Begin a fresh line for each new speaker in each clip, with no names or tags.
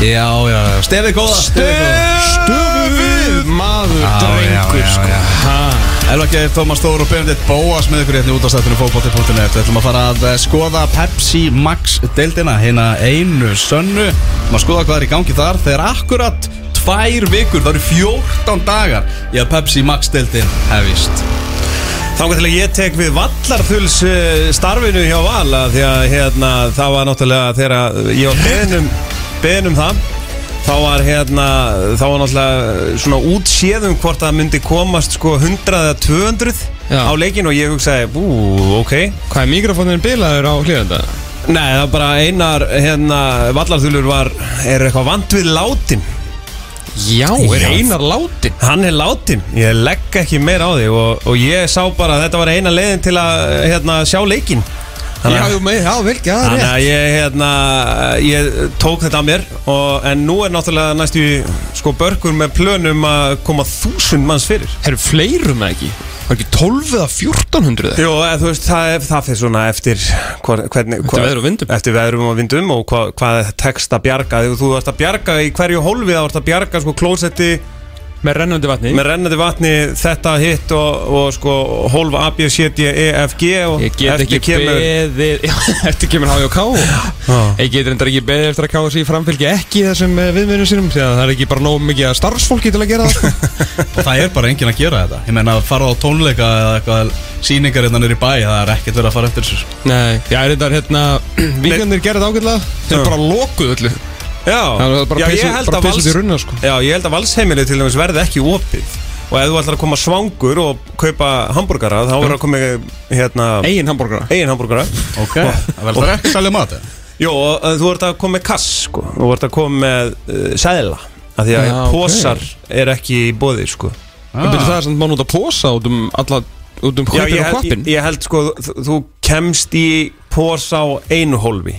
Já, já, já, stefið góða Eh.
Stöfu maður,
Já, já,
drengur
já,
sko
já. Elvageir, Tómas Þór og Björndið Bóas með ykkur hérna í útastættinu fókbóti.net Við ætlum að fara að eh, skoða Pepsi Max deildina, hérna einu sönnu Við að skoða hvað er í gangi þar Þegar akkurat tvær vikur, það eru 14 dagar í að Pepsi Max deildin hefist
Þangar til að ég tek við vallarþuls eh, starfinu hjá Val að Því að hérna, það var náttúrulega þegar að ég var beðin um, beðin um það Þá var hérna, þá var náttúrulega eh, svona útséðum hvort það myndi komast sko 100 eða 200
Já.
á leikin og ég hugsaði, bú, ok
Hvað er mikrofónin bilaður á hlýðanda?
Nei, það var bara einar, hérna, vallarþulur var, er eitthvað vant við látin
Já, er
Já.
einar látin
Hann er látin, ég legg ekki meir á því og, og ég sá bara að þetta var eina leiðin til að hérna, sjá leikin
Já,
Þannig að-
jú, með, já, vel, já, það er
þannig
rétt
að ég, hérna, ég tók þetta að mér og, En nú er náttúrulega næstu sko, börkur með plönum að koma þúsund manns fyrir
Herru, fleirum það ekki? Var ekki 12 eða 1400 eða?
Jó, eða, þú veist, það, er- það fyrir svona eftir hvar, hvernig,
Eftir veðrum og vindum.
Eftir veðrum og vindum og hva, hvað tekst að bjarga Þegar þú ert að bjarga í hverju hólfi þá ert að bjarga sko klósetti
Með rennandi vatni
með rennandi vatni þetta hitt og, og sko hólf A, B, C, D, E, F, G og
Ég get ekki beðið Já, Eftir kemur HJK Ég get reyndar ekki beðið eftir að KSI framfylgi ekki þessum eh, viðmiðunum sínum Þegar það er ekki bara nóg mikið að starfsfólki til að gera það sko.
Og það er bara enginn að gera þetta Ég meina að fara á tónleika eða eitthvað sýningar hérna niður í bæ Það er ekkert verið að fara eftir þessu
Nei, já, reyndar hérna Víkandir gerði þetta ágætlega Þeir
Já.
bara lokuð öllu
Já,
Það var bara
já,
pissu-
ég held
bara
að
pissu
vals,
út í runna, sko.
Já, ég held að valsheimilið til dæmis verði ekki opið og ef þú ætlar að koma svangur og kaupa hambúrgara þá verður að koma hérna
Egin hamburgara
eigin hambúrgara
Ok, vel það er ekki sælið mat eða?
Jó, og eh, þú ert að koma með kass sko þú ert að koma með uh, sæðla af því að
Já, ok.
posar er ekki í bóði sko
ah. Það er samt mann út að posa út um alla Út um
Já, ég
hlaupin og
held,
kvappin
ég, ég held sko þú, þú kemst í posa á einu hólfi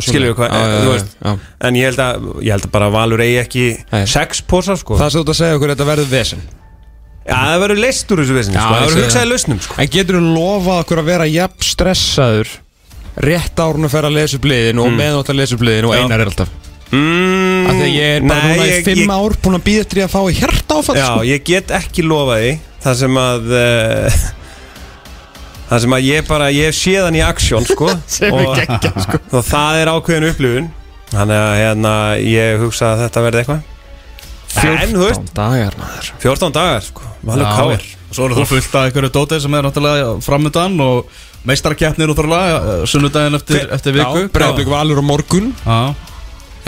skilur við hvað- þú veist. En ég held að, ég held að bara Valur eigi ekki
Nei.
sex posar sko
Það sem þú ert að segja okkur þetta verður vesen
Já, það verður leist úr þessu vesinni
Já,
sko Það
ég
verður
segi
hugsaði
það.
lausnum sko
En getur þú lofað okkur að vera jafn stressaður Rétt árun að fara að lesa upp liðin og mm. meðnátt að lesa upp liðin og
Já.
einar er alltaf
mm,
Af því að ég er bara núna í fimm ár búin að býða eftir ég að fá í hjarta áfall
Já,
sko.
ég get ekki lofað því Það sem að uh, Það sem að ég bara, ég sé þann í aksjón sko Sem er geggja sko Og það er ákveðin upplifun Þannig að hérna, ég hugsa að þetta verði eitthvað En, þú veist,
dagar maður
14 dagar sko Valur
Já,
káir
og Svo eru þú fullt af einhverju dótið sem er náttúrulega framundan og meistarkeppnir útrúlega eh, sunnudaginn eftir,
Hver-
eftir viku
Já, breyðablik valur á morgun
Já.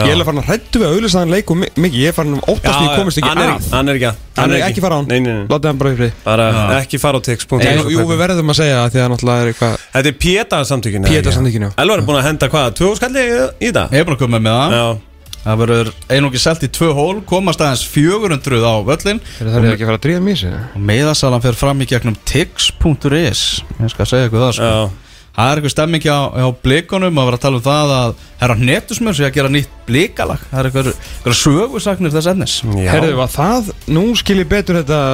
Ég er farin að hrættu við að auðvitaðan leiku mi- mikið Ég er farin að óttast því komist ekki
hann er,
af
hann er ekki að
Hann er ekki fara á hann
Nei, nei, nei
Láttu hann bara í frið
Bara
Já.
ekki fara á tix
En jú, við verðum að segja að því að náttúrulega er eitthvað
Þetta er Pétarsamtökin
Pétasamtökin, já.
Elvar er búin að henda hvað, tvö skalli í- í það?
Ég er bara komið með það
Já
Það verður einungi selt í tvö hól komast aðeins 400 á völlin
Eru Það er ekki að fara að dríða mísi
og meðasalan fer fram í gegnum tix.is Ég skal segja ykkur það sko.
Já.
Það er eitthvað stemming á, á blikunum að vera að tala um það að herra netusmur sé að gera nýtt blikalag Það er eitthvað, eitthvað sögusagnir þess ennis
Já.
Herðu, var það, nú skil ég betur þetta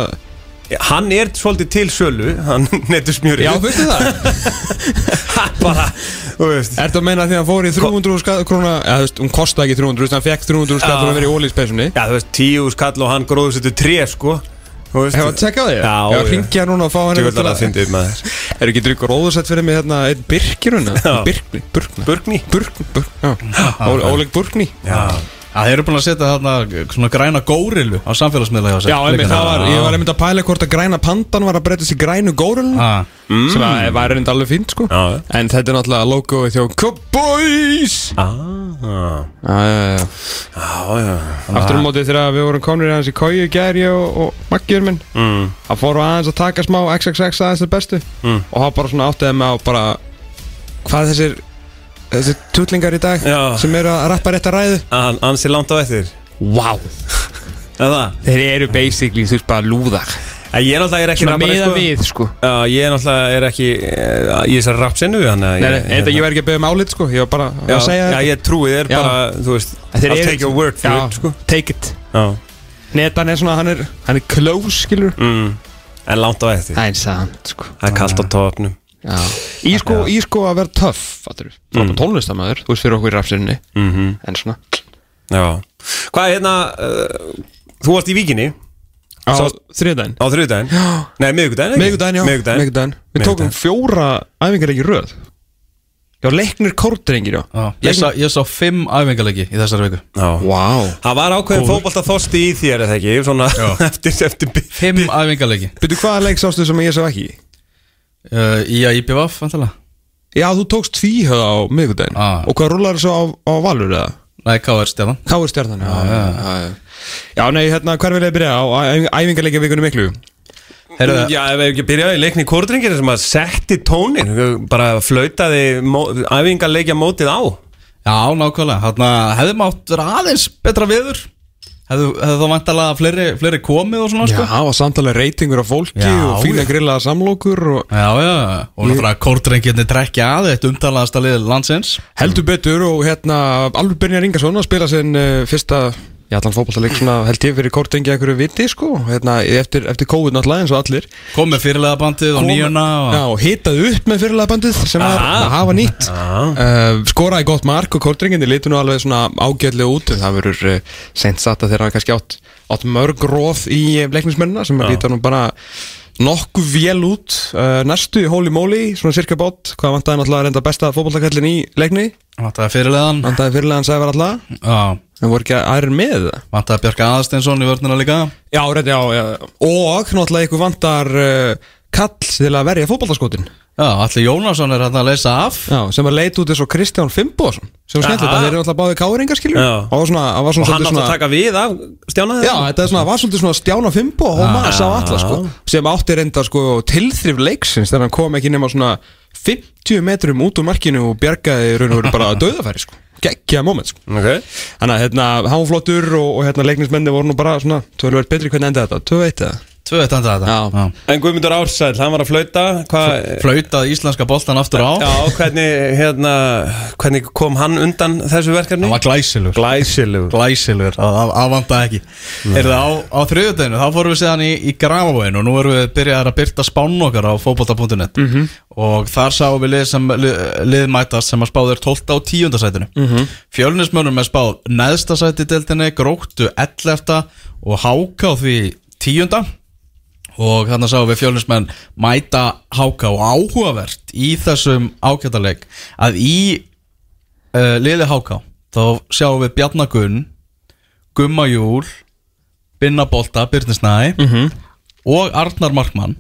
Hann er svolítið til sölu Hann netur smjúri
veistu það?
Hann bara, þú veist
Ertu að meina að því að hann fór í 300 skall krona Já, þú veist, hún kostaði ekki 300, þú veist, hann fekk 300 skall
Já.
fyrir að vera í ólíkspensunni
Já, þú veist, tíu skall og hann gróður setur tre, sko Þú veist
Hefur að tjekka á því?
Já,
Hefur
já.
að ringja núna og fá hann
Þú veist að það fyndi upp með þér
Er ekki drikkur óðursett fyrir mig hérna einn birkiruna?
Já.
Birkni, burkna
Burgni
Burkni, burkna Óleg burkni
Já
Það eru búin að setja þarna svona græna górilu á samfélagsmiðla hjá sér
Já, einmitt, það var, ég
Já.
var einmitt að pæla hvort að græna pandan var að breytast í grænu górun
Ah.
sem að eh, var reynd alveg fínt sko
Mm. Já.
en þetta er náttúrulega logoið hjá Cowboys
Ah,
Aftur
já, já
á móti þegar við vorum konur aðeins í kóju gæri og, og maggjur minn
Mm.
að fóru aðeins að taka smá XXX aðeins til bestu
Mm.
og það bara svona áttið með á bara hvað þessir þessir tullingar í dag
Já.
sem eru að rappa rétt að ræðu
Ah, Hann ansi langt á eftir
Wow,
Er það?
þeir eru basically þú veist bara lúðar
En Ég er náttúrulega er ekki
Svona
rappari,
meða
sko.
við sko
Já, ég er náttúrulega er ekki eh, í þessari rapsinu Nei,
Nei, nei, þetta ég var ekki að beða um álit sko Ég var bara
Já,
að segja
já, ég trúi þér
Já.
bara, þú veist
Þeir
I'll
eru-
take your word for
Já,
it, sko
Take it
Já
Netan er svona, hann er, hann er close skilur
mm. En langt á eftir
Það er sant sko
Það er kallt á tópnum
Já. Í sko,
Mhm.
í sko að vera töff fattur við, bara mm. tónlistamæður, þú veist fyrir okkur í rafsirni
mm -hmm.
en svona,
Já Hvað er hérna uh, Þú varst í víkinni
Á
Sást-
þriðdæn
á þriðudaginn
Já.
Nei, miðvikudaginn ekki?
Megudaginn, já
Miðvikudaginn
Við tókum
Miðvikudaginn.
fjóra æfingar ekki röð Já, leiknir kórdrengir, já
Já, ég, sá, ég sá fimm æfingarleiki í þessari viku
Já
Vá
Það var ákveðin
Góður.
fótbolta þorsti í þér eða ekki Svona eftir, eftir bi-
Fimm æfingarleiki
Byrju, hvaða leik sástu sem ég sá ekki? í?
uh, Í að IPVF, vantilega
Já, þú tókst tvíhöð á miðvikudaginn
Ah.
Og hvað rúlar svo á, á valur eða?
Nei, K.R. Stefan
Káur stjarnan Já,
Ah,
já, já Já, nei, hérna, hver vil ég byrja á æfingarleikja vikunum miklu?
Heyrðu það
Já, ef við ekki byrjaði í leikni kórdringir sem að setti tónin bara flautaði æfingarleikja mótið á
Já, nákvæmlega, þarna hefði mátt vera aðeins betra viður Hefðu, hefðu þá vantilega fleiri, fleiri komið og svona
Já,
sko
og samtalið reytingur af fólki
Já,
og fína
já.
grillaða samlokur og
Já, já, og náttúrulega kórdrengirni trekkja að eitt umtalaðasta lið landsins
heldur betur og hérna Alveg Brynjar Ingarsson að spila sinn uh, fyrsta Já, allan fótballtaleik svona held ég fyrir kortengi einhverju viti sko hérna, eftir, eftir COVID náttúrulega eins og allir
Komið fyrirlega bandið og nýjuna og...
Já, og hitaði upp með fyrirlega bandið sem var að hafa nýtt uh, skoraði gott mark og kortringinni litur nú alveg svona ágjörlega út en það verður uh, seint satt að þeirra hafa kannski átt, átt mörg róð í eh, leiknismennina sem að líta nú bara nokkuð vél út uh, næstu í holy moly, svona cirka bát hvað vantaði náttúrulega reynda besta fótballakallin í leikni
Vantaði fyrirlegan
vantaði fyrirlegan sævar alltaf
Já,
en voru ekki aðrir með það
vantaði Björk Aðarsteinsson í vörnina líka
Já, reyndi, já, já og náttúrulega ykkur vantar uh, kall til að verja fótballaskotin
Já, Alli Jónasson er hérna að leysa af
Já, sem að leit út eins og Kristján Fimboðsson sem var skemmtilegt,
Aha.
það er alltaf báði káringar skilur
Já.
og var svona, hann var
og
svona,
hann
svolítið
átti
svona
að taka við af Stjána
Já, þetta er svona, var svolítið svona stjána Fimbo og hóma sá alla sko sem átti reynda sko tilþrif leiksins þegar hann kom ekki nema svona 50 metrum út úr markinu og bjargaði í raun og veru bara döðafæri sko geggja moment sko
okay.
Þannig að hérna, hann var flottur og, og hérna leiknismenni voru nú bara svona, tölvöld betri hvernig enda þetta, tölvöld eitt eða?
Tvö eitt andaði þetta
Já.
En Guðmundur Ársæl, hann var að flauta Hvað
Flautað íslenska boltan aftur á
Já, hvernig, hérna, hvernig kom hann undan þessu verkefni?
Hann var glæsilur
glæsilegur
Glæsilur, það vandaði ekki Er það á, á þriðudeginu, þá fórum við séðan í, í Grafavögin og nú erum við byrjaðar að byrta spán okkar á fótbolta.net og þar sáum við lið sem lið, lið mætast sem að spáður 12. og 10. sætinu mm -hmm. Fjölnismönnum er spáð neðsta sæti í deildinni, gróttu 11. og háká því 10. og þannig sáum við fjölnismenn mæta háká og áhugavert í þessum ákjættarleik að í uh, liði háká þá sjáum við Bjarnagun Gumma Júl Binna Bolta, Byrnisnæ og Arnar Markmann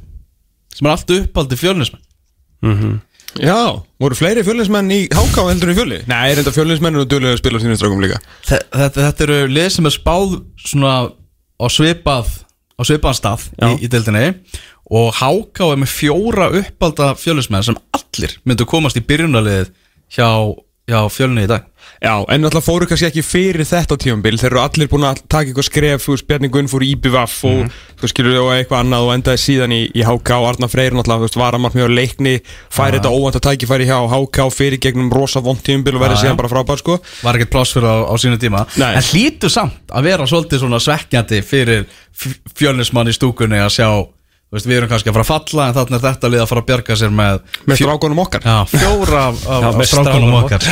sem er allt uppaldi fjölnismenn
Já, voru fleiri fjölinsmenn í háká heldur en í fjöli? Nei, reynda fjölinsmenn og duðlega spila á sínum strákum líka
Þe- Þetta, þetta eru lið sem er spáð svona á svipað á svipaðan stað í, í deildinni og Háká er með fjóra uppalda fjölnismenn sem allir myndu komast í byrjunarliðið hjá, hjá fjölni í dag
Já, en náttúrulega fóru kannski ekki fyrir þetta tíumbil Þeir eru allir búin að taka eitthvað skref Þú veist, Bjarni Gunn fór í IBVF og þú skilur þau eitthvað annað og endaði síðan í, í HK og Arna Freyr náttúrulega, þú veist, varamart mjög leikni færi þetta óvænt að tækifæri hjá HK fyrir gegnum rosa vond tíumbil og verði síðan bara frábær sko
var ekkert pláss fyrir á, á sínu tíma
Nei.
en hlýtur samt að vera svolítið svona svekkjandi fyrir fjölnismann í stúkunni að sjá þú veist, við erum kannski að fara að falla en þarna er þetta lið að fara að bjarga sér með
Með strákunum okkar
já, fjóra af, af,
Já,
af
með
strákunum
strákunum
okkar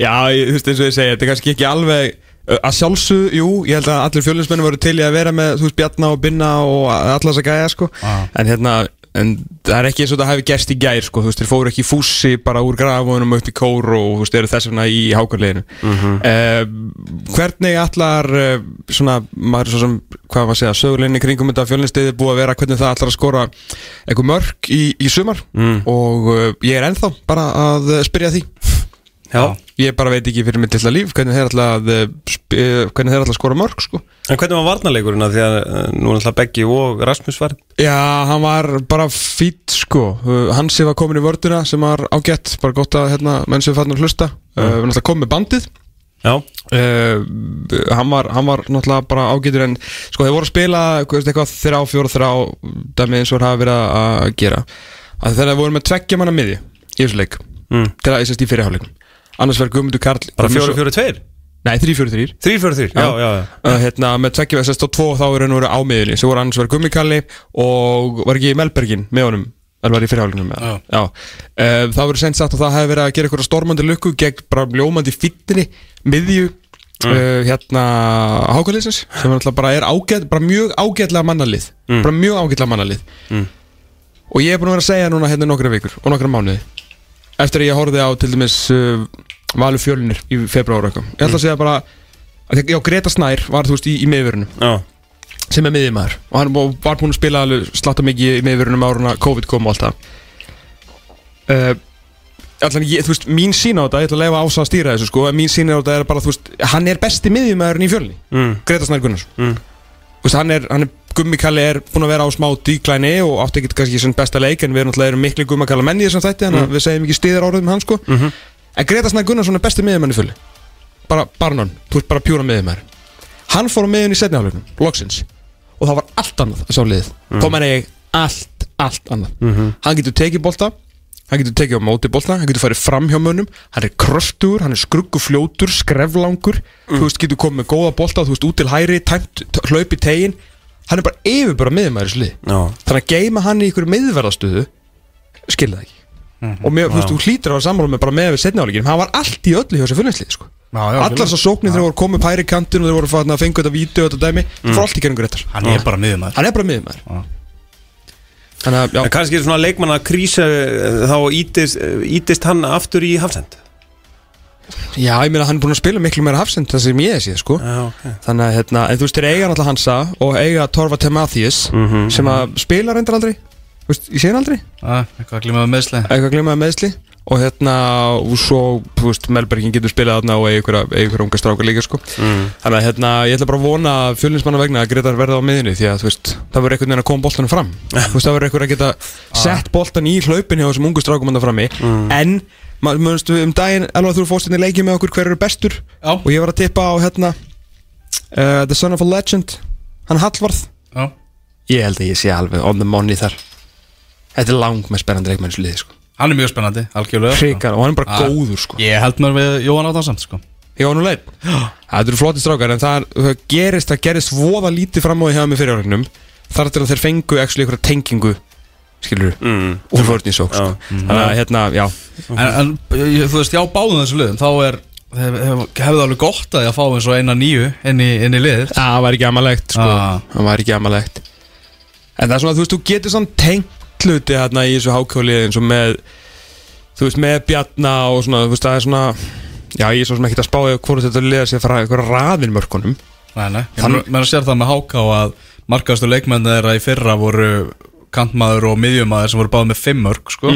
Já, ég, þú veist eins og ég segi, þetta er kannski ekki alveg ö, að sjálfsög, jú, ég held að allir fjölinsmenn voru til í að vera með, þú veist, Bjarna og Binna og alla þess að gæja, sko
Já.
en hérna, en það er ekki eins og þetta hafi gerst í gær, sko, þú veist, þeir fóru ekki í fússi bara úr grafunum upp í kór og þú veist, eru þess vegna í hákarleginu mm Hvernig allar uh, svona, maður er svo sem hvað var að segja, söguleginni kringum þetta fjölinstiði búið að vera, hvernig það allar að skora einhver mörg í, í sumar og uh, ég er ennþá bara að uh, spyrja að því
Já.
Ég bara veit ekki fyrir mitt lilla líf hvernig þeir ætla að, eh, sp- eh, hvernig þeir ætla að skora mörg sko.
En hvernig var varnarleikurinn að því að eh, nú er alltaf Beggi og Rasmus var
Já, hann var bara fýtt sko. Uh, Hansi var komin í vörduna sem var ágætt, bara gott að hérna, menn sem fann að hlusta mm. uh, náttúrulega kom með bandið
Já,
Uh, hann, var, hann var náttúrulega bara ágætur en sko þeir voru að spila þú veist, eitthvað þrjá, fjóra, þrjá dæmið eins og þeir hafa verið að að gera að þegar þeir voru með tveggja manna miði í þessu leik
Mm.
til að þessast í fyrirháleikum annars verður Guðmundur Karl
bara 4-4-2
nei, 3-4-3
3-4-3, já, já, já
uh, hérna, með tveggjum SS og tvo þá er hann voru ámiðinni sem voru annars verið gummikalli og var ekki í Melbergin með honum Það var í fyrirhálinum með
Já.
Já. Uh, Það voru sent sagt að það hefði verið að gera eitthvað stormandi lukku gegn bara ljómandi fittinni miðju uh, hérna hákvæðliðsins sem er náttúrulega bara er ágæt, bara mjög ágætlega mannalið bara mjög ágætlega mannalið
Mm.
og ég er búin að vera að segja núna hérna í nokkra vikur og nokkra mánuði eftir að ég horfði á til dæmis uh, Valur fjölunir í februar eitthvað ég ætla að segja bara að því- já, Greta Snær var þú veist í, í meðverunum
Já,
sem er miðjumæður og hann bú- var búinn að spila alveg slatta mikið í meðverunum áruna COVID kom og allt það uh, allan, ég, þú veist, mín sín á þetta ég ætla að leifa ása að stýra þessu sko en mín sín á þetta er bara, þú veist, hann er besti miðjumæðurinn í fjölni
mm.
Greta Snær Gunnars
Mm.
Þú veist, hann er, hann er gummikalli er búinn að vera á smá díklæni og átti ekkert kannski sem besta leik en við erum alltaf erum mikli gummakalla menn í þessum þætti þannig að við segjum ekki stíðar orðum hann sko
Mm. Mhm.
en Greta Snær Gunnarsson er besti miðjumenn í fulli bara barnan, þú ert bara pjúra miðjumenn hann fór á miðjun í setni hálfleiknum, loksins og það var allt annað að sjá liðið þá menna ég allt, allt annað hann getur tekið bolta hann getur tekið á móti bolta, hann getur farið fram hjá mönnum hann er kröftur, hann er skruggufljótur skreflangur, þú veist, getur komið með góða bolta, þú veist, út til hæri tæmt, hlaupi tegin, hann er bara yfirbara miðjumæður í slið,
Já.
þannig að geima hann í ykkur miðverðastöðu skilða ekki og mér, þú veist, þú hlýtur á samráð með bara með við setnafleikinum, hann var allt í öllu hjá sér fulleinslið,
Já,
sko
já,
allar
algjörlega.
þessar sóknir þegar voru komið pæri kantinu og þeir voru farin að fengu þetta vídeo og þetta dæmi, það fór allt í gerningur réttar
Hann er bara miðum
hann er bara miðjumæður þannig að, já,
En kannski er svona leikmanna krísa eh, þá ítist, ítist hann aftur í hafsend
já, ég meina hann er búin að spila miklu meira hafsend það sem ég sé, sko
Já, ok
þannig að, hérna, en þú veist, þeir eiga alltaf Hansa og eiga Torfa Temathias
Mhm.
sem að spila reyndar aldrei Þú veist, ég sé hann aldrei,
Eitthvað að glíma með meðsli
eitthvað glemmaði meðsli og hérna, og svo, þú veist, Melbergin getur spilað þarna og eiga ykkur, eiga ykkur unga strákar líka, sko þannig að, hérna, ég ætla bara að vona fjölinsmanna vegna að Gretar verða á miðinni því að, þú veist, það verður einhvern veginn að koma boltanum fram þú veist, það verður einhver að geta sett boltan í hlaupin hjá þessum ungu strákum hann frammi en, maður, mjöndstu, um daginn alveg þú fórst hérna í leikið með okkur hver eru bestur
Já.
og ég var að tippa á, hérna, uh, The Son of a Legend hann Hallvarð
Já
ég held að ég sé alveg on the money þar þetta er lang með spennandi leikmennsliði sko.
Hann er mjög spennandi, algjörlega
Hrikar, og hann er bara
Ah.
góður sko.
Ég held mér við Jóhann Áttansamt sko
ég var nú leið það eru flotti strákar en það, er- það gerist það gerist voða lítið fram á því hefða með fyrirjáregnum þar til að þeir fengu actually einhverja tengingu skilur
mm.
úr vörðin í sók sko. þannig að hérna, já
En, en ég- þú veist, já, báðum þessu liðum Þá er, hef, hef, hefði alveg gott að ég að fá eins og eina nýju inn í, inn í liðið
Ah, það var ekki amalegt sko.
Ah.
það var ekki amalegt en það er svona, þú veist, þú getur svona tengt hluti hérna í þessu hákjólið eins og með þú veist, með Bjarna og svona, þú veist, það er svona já, ég er svo sem ekkert að spáði hvort þetta liða sér frá einhverja raðin mörkunum
Nei, nei,
Þann-
þannig að sér það með háká að markastu leikmenn þeirra í fyrra voru kantmaður og miðjumæður sem voru báð með fimm örg sko.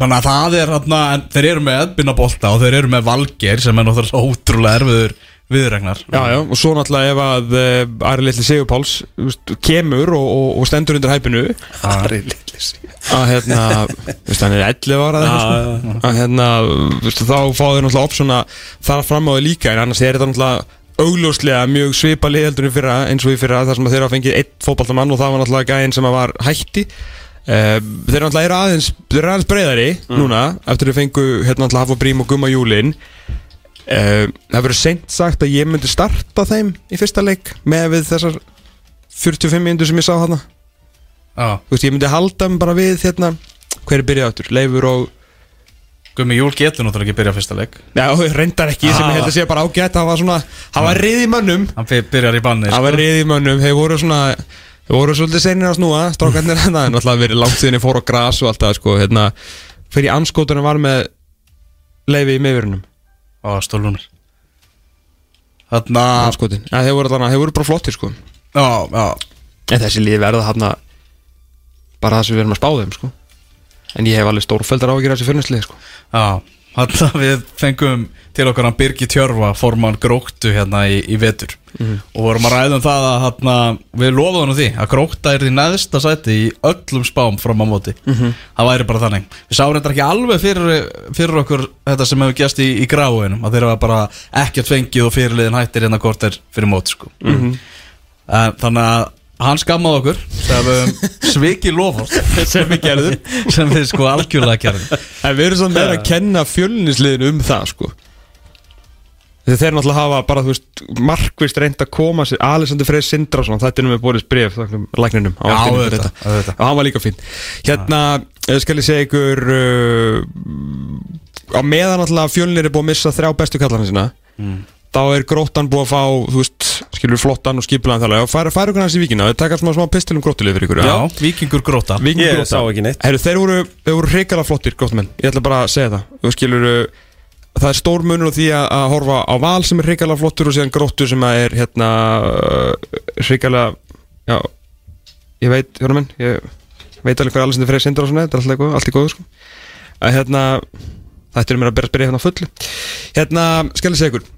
þannig að það er hérna, en þeir eru með eðbina bolta og þeir eru með valgir sem er náttúrulega ótrúlega erfiður viðregnar
Já, já, og svo náttúrulega ef að uh, Ari Lilli Sigurpáls þú veist, kemur og, og, og stendur undir hæpinu
Ari litli sig
að hérna, þú veist, hann er 11 ára eða eitthvað,
Já,
sko. að hérna, þú veist, þá fá þau náttúrulega opsjón að fara fram á þau líka en annars er þetta náttúrulega augljóslega mjög svipa liðeldunum fyrra eins og í fyrra þar sem að þeir hafa fengið einn fótballtamann og það var náttúrulega gæinn sem að var hætti uh, þeir náttúrulega eru aðeins, þeir eru aðeins breyðari núna eftir að þeir fengu hérna náttúrulega hafa brím og gumma júlin uh, það verður seint sagt að ég myndi starta þeim í fyrsta leik með við þessar 45 minnur sem ég sá hana
Já,
þú veist, ég myndi halda mig bara við hérna, hver er byrjað áttur, Leifur og
Gummi Júl getur náttúrulega ekki að byrja fyrsta leik
Já, reyndar ekki, sem ég held að sé bara ágætt það var svona, það var riðið mönnum
hann fyr- byrjar í banni sko.
það var riðið mönnum, þeir voru svona þeir voru svolítið senir að snúa, strákarnir hérna en alltaf verið langt síðan ég fór á gras og allt það sko, hérna, fyrir anskótunum var með Leifi í meðverunum
á stólunir þarna
anskotin, ja, þeir voru allan, þeir voru bara flottir sko en
já, já,
þessi lífi verða þarna bara það sem við erum að spá þeim sko en ég hef alveg stórfældar á að gera þessi fyrirnslið sko
já Þarna við fengum til okkar hann Birgi Tjörfa formann gróktu hérna í, í vetur og vorum að ræða um það að hérna, við lofaðum nú því að grókta er því neðsta sæti í öllum spám fram á móti það væri bara þannig við sáum reyndar ekki alveg fyrir, fyrir okkur þetta sem hefur gæst í, í gráinum að þeir hafa bara ekkert fengið og fyrirliðin hættir hérna hvort er fyrir móti sko. Eh, þannig að hann skammaði okkur sem um, sviki lofort sem við gerðum sem við sko algjörlega gerðum
En við erum svona meira að kenna fjölnisliðinu um það sko Þegar þeir náttúrulega hafa bara, þú veist, markvist reynd að koma sér Alexander Freyr Sindrason, þetta er nú með Boris Bref, þakkum lækninum
Já,
á
auðvitað, auðvitað.
Og hann var líka fín Hérna, eh, skal ég segja ykkur eh,
Mm.
uh, Á meðan náttúrulega fjölnir er búið að missa þrjá bestu kallana sína þá er gróttan búið að fá, þú veist, skilur flottan og skipulan þálega og fara, fara ykkur hans í víkina og taka smá, smá pistilum gróttulega fyrir ykkur
Já, vikingur gróta
Víkingur
Ég
Grótta.
sá ekki neitt.
Heyrðu, þeir voru, þeir voru hrikalega flottir gróttumenn Ég ætla bara að segja það Þú skilur Það er stór munur á því að, að horfa á val sem er hrikalega flottur og síðan gróttu sem að er hérna uh, hrikalega Já Ég veit, hjóra minn Ég veit alveg hvað allir sem þið fyrir sindur á svona Þetta er alltaf eitthvað, allt í góðu sko að, Hérna Þetta er mér að byrja að byrja hérna á fullu Hérna, skal ég segja ykkur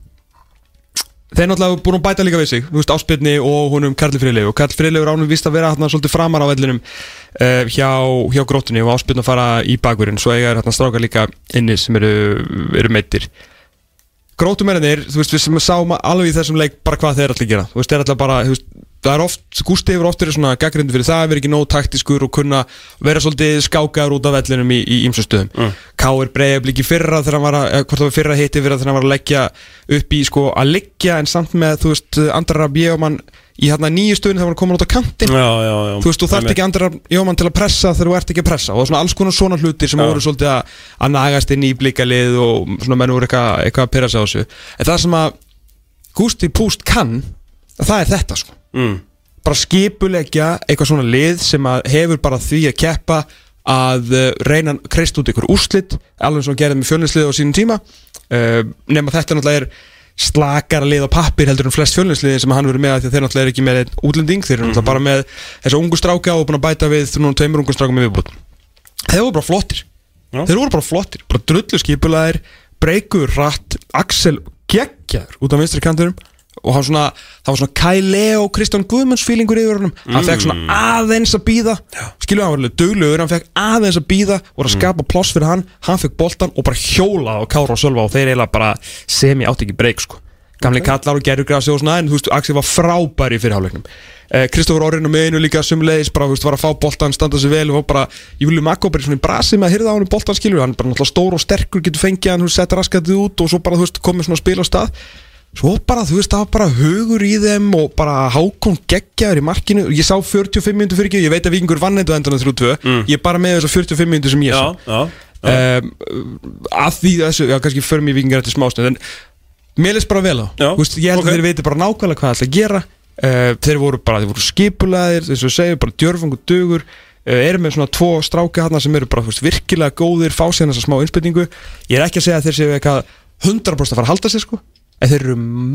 Þeir náttúrulega búin að bæta líka við sig Þú veist, áspilni og húnum Karli Friðlegu Og Karli Friðlegu ránum vist að vera hérna svolítið framar á vellinum uh, hjá, hjá gróttunni og áspilni að fara í bakurinn Svo eiga er hérna strákar líka inni sem eru, eru meittir Gróttumennir, þú veist, við sem sáum alveg í þessum leik bara hvað þeir allir gera Þú veist, þeir allir bara, þú veist, það er oft, Gústi hefur oft verið svona gaggrindu fyrir það Verið ekki nóg taktiskur og kunna vera svolítið skákaður út af vellinum í, í ymsum stöðum mm. Káir breyðablík í fyrra þegar hann var að, eða hvort það var fyrra hitti fyrir þegar hann var að leggja upp í sko að leggja En samt með, þú veist, Andra Bjöman í hérna nýju stöðun þegar hann kom út á kantinn
Já, já, já
þú veist, þú þarft
Einmitt.
ekki andra jómann til að pressa þegar þú ert ekki að pressa og það er svona alls konar svona hlutir sem
Já.
voru svolítið að, að nagast inn í blíkalið og svona menn voru eitthvað, eitthvað að pyrra sig á þessu en það sem að Gusti Púst kann það er þetta sko
mm.
bara skipulegja eitthvað svona lið sem að hefur bara því að keppa að eh, reyna að kreist út ykkur úrslit alveg svo gerði með fjölninslið á sínum tíma uh, nema þetta náttúrulega er slakara lið á pappir heldur en flest fjölninsliðin sem hann verið með af því að þeir náttúrulega er ekki með einn útlending þeir eru náttúrulega bara með þessu ungu stráka og búin að bæta við þrjum tveimur ungu strákum í viðbútt þeir voru bara flottir
Já.
þeir voru bara flottir, bara drullu skipulaðir breykur, rætt, Axel geggjaður út á vinstri kanturum og hann svona, það var svona Kai Leo Kristján Guðmunds feelingur yfir honum hann fekk svona aðeins að býða skilur hann var alveg duglugur, hann fekk aðeins að býða voru að skapa pláss fyrir hann, hann fekk boltan og bara hjóla á Kára og Sölva og þeir eiginlega bara semi átti ekki breyk sko gamli kallar og gerðugrasi og svona en þú veist, Axel var frábæri í fyrirháleiknum eh, Kristofur Orrin og meðinu líka sumleis bara, þú veist, var að fá boltan, standa sig vel og bara, Júli Makko bara í svona í brasi með að hyrða á hann boltan skilur, hann er bara náttúrulega stór og sterkur getur fengið hann, þú veist, setja raskatið út og svo bara, þú veist, komið svona spil á stað svo bara, þú veist, það var bara hugur í þeim og bara hákon geggjaður í markinu ég sá 45 minútur fyrir ekki, ég veit að vikingur vann þetta á endanum 3-2, ég er bara með þessar 45 minútur sem ég
Já,
sá
já
um, að því þessu, já kannski förum í vikingar eftir smástund en mér leist bara vel á
Já,
Þú veist, ég held
ok.
að þeir veitir bara nákvæmlega hvað það ætla að gera uh, þeir voru bara, þeir voru skipulaðir eins og við segjum, bara djörfung og dugur uh, eru með svona tvo stráka hann sem eru bara þú veist, virkilega góðir, fá sér þessa smá innspytningu ég er ekki að segja að þeir séu eitthvað 100% að fara að halda sér sko en þeir eru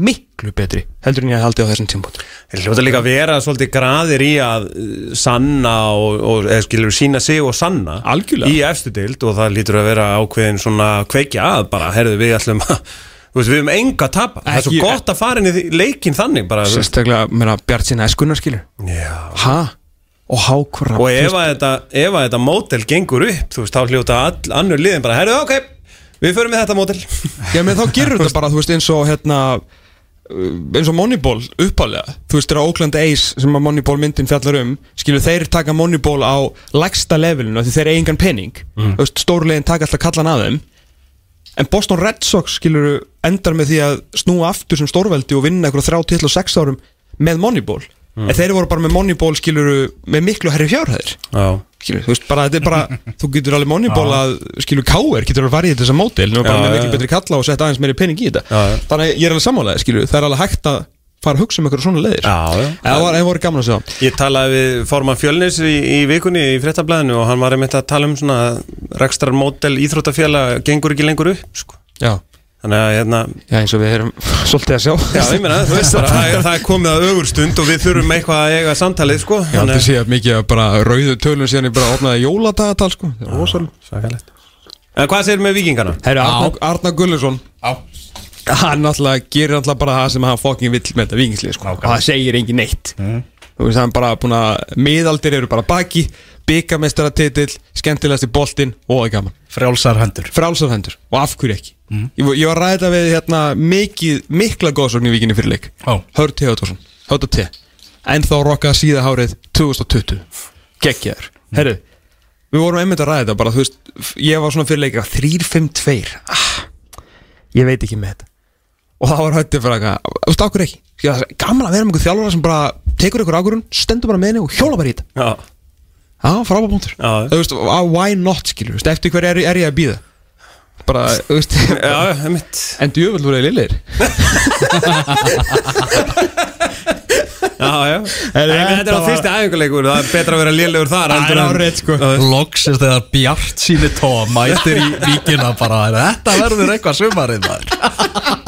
miklu betri heldur en ég held á þessum tímpot
Þeir hljóta líka að vera svolítið graðir í að uh, sanna og, og eða skilur sína sig og sanna
Algjörlega.
í efstu deild og það lítur að vera ákveðin svona kveikja að bara, herðu við ætlum að þú veist, við höfum enga að tapa það er svo
Ekki-
gott að fara inn í því- leikinn þannig bara, þú veist.
sérstaklega, meina, Bjart sinna eskunar skilur
Já
ha? og hákvara
og ef að þetta, ef að þetta mótel gengur upp þú veist, þá hljóta all, annur liðin bara herðu, ok, við förum með þetta mótel
Já, menn þá gerur þetta bara, þú veist, eins og hérna uh, eins og Moneyball uppalega þú veist, þeirra Oakland Ace sem að Moneyball myndin fjallar um, skilur þeir taka Moneyball á lægsta levelinu af því þeir eiga engan pening, þú veist, stórlegin taka alltaf kallan að þeim en Boston Red Sox skilur endar með því að snúa aftur sem stórveldi og vinna eitthvað þrjá til og sex árum með Moneyball en þeir voru bara með Moneyball skilur með miklu herri fjárhæðir
já
skilur, þú veist, bara þetta er bara þú getur alveg moneyball að, skilur, káir getur alveg farið í þessa mótil, nú er bara
Já,
með
já,
miklu
já.
betri kalla og setja aðeins meiri pening í þetta
Já, já.
þannig að ég er alveg sammálaðið, skilur, það er alveg hægt að fara að hugsa um eitthvað svona leiðir
Já, já.
En það var, það voru gaman að sjá
Ég talaði við forman Fjölnis í, í vikunni í fréttablaðinu og hann var einmitt að tala um svona rekstrar mótel íþróttafjöla gengur ekki lengur upp sko.
já,
þannig að hérna
já, eins og við erum svolítið að sjá
já, ég meina, þú veist, bara, það, er, það er komið að ögurstund og við þurfum eitthvað að eiga samtalið sko.
Ég aldrei sé að mikið að bara rauðu tölun síðan ég bara opnaði jóladagatal sko Það er rosalega.
Svakalegt En hvað segir með vikingana?
Herra, Arna, Arna Gulluðsson Hann náttúrulega gerir náttúrulega bara það sem hann fucking vill með þetta vingslið sko Og það segir engin neitt Þú veist, hann bara búin að miðaldir eru bara baki Byggamestaratitil, skemmtilegasti boltinn og það er gaman
Frjálsar hendur
Frálsafhendur og af hverju ekki ég, ég var að ræða við hérna mikið, mikla góðsókn í vikinni fyrir leik
Já.
Hörð Teodorsson, Hörð T En þá rokkað síða hárið 2020 Gekkjaður, herru Við vorum einmitt að ræða þetta bara, þú veist f- Ég var svona fyrir leik að 3-5-2 ah, Ég veit ekki með þetta Og þá var höttið fyrir eitthvað Þú veist, okkur ekki Ég var að segja, Gaman að vera með einhver þjálfara sem bara tekur einhver ákvörun Stendur bara með henni og hjóla bara í þetta
Já,
Já, frábæð punktur
Já.
Þú veist, á- why not skilur, þú veist, eftir hver er, er ég að býða bara, þú veist
Já, einmitt
En djöfull voru þeir lillir
Já, já En þetta er á fyrsti æfinguleikur Það er betra að vera lélegur þar
Það
heldur
er
en-
árið, sko.
Já,
Loksist þegar Bjart síni Tom mætir í vikina bara Þetta verður eitthvað sumarið maður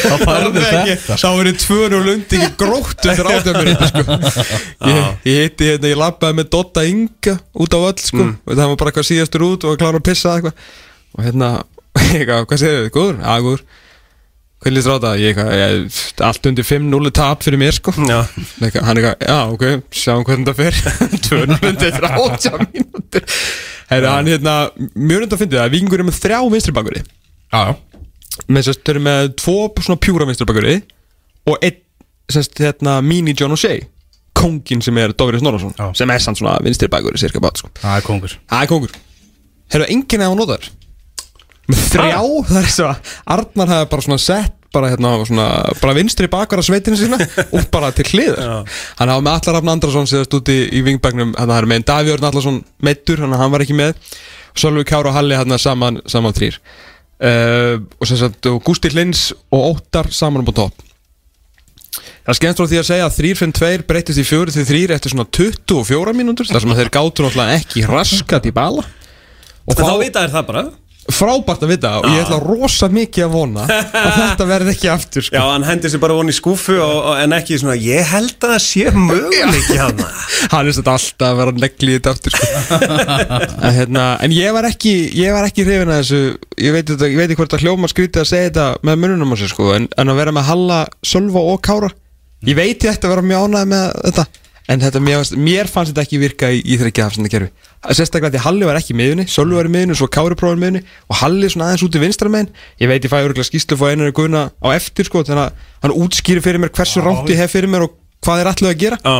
Það færðu þetta
Sá eru tvöru og lundi í gróttu fyrir átjöfnir sko. ég, ég hitti hérna, ég labbaði með Dotta Inga út á öll sko. og það var bara eitthvað síðastur út og var klára að pissa eða eitthvað og hérna, ég eitthvað, hvað segir þið, góður? Já, góður Hvernig líst ráta? Ég eitthvað, ég, allt undir 5-0 er tap fyrir mér sko
Já,
Leika, hann eitthvað, já ok, sjáum hvernig það fer 200 eftir 80 mínútur Herra, hann hérna, mjög rönd að fyndi það Víkingur er með þrjá vinstribakveri
Já,
með sérst, þau eru með tvo svona pjúra vinstribakveri og einn, sérst, hérna, mini John O'Shea kongin sem er Dóri Snorarsson
Já.
sem er sann svona vinstribakveri, cirka bát sko.
það er kongur
það er kongur Herra, enginn hefði hann notaður með þrjá, það er svo að Arnar hefði bara svona sett bara, hérna, svona, bara vinstri bakvara sveitinu sína og bara til hliðar hann hafa með Allar Rafn Andrason síðast úti í vingbagnum hann er með en Davíörn Allarsson meittur hann, hann var ekki með Sölvi Kár og Halli hann saman, saman þrýr uh, og sem sagt og Gústi Lins og Óttar saman upp á topp Það skemmst frá því að segja að 3-5-2 breytist í 4-3 eftir svona 24 mínútur þar sem að þeir gátur náttúrulega ekki raskat í bala og
En þá vita þér það bara
frábært að vita og ég ætla rosa mikið að vona að þetta verði ekki aftur
Já,
sko.
hann hendur sér bara von í skúfu og, og, En ekki svona, ég held að það sé möguleiki hann
hann er þetta alltaf að vera negli í þetta aftur sko. en, hérna, en ég var ekki ég var ekki hrifin að þessu ég veit, þetta, ég veit ekki hvort að hljóma skrítið að segja þetta með mununum á sig sko, en, en að vera með Halla, Sölva og Kára ég veit ég ætti að vera mjög ánægð með þetta en þetta, mér, fannst- mér fannst þetta ekki virka í, í þryggja afsenda kerfi sérstaklega því Halli var ekki í miðunni, Sölvi var í miðunni svo Kári prófaði í miðunni og Halli svona aðeins út í vinstra megin ég veit ég fæði örgulega skýslu fóð einar guðna á eftir sko, þannig að hann útskýri fyrir mér hversu rámt ég hef fyrir mér og hvað er allir að gera
Já,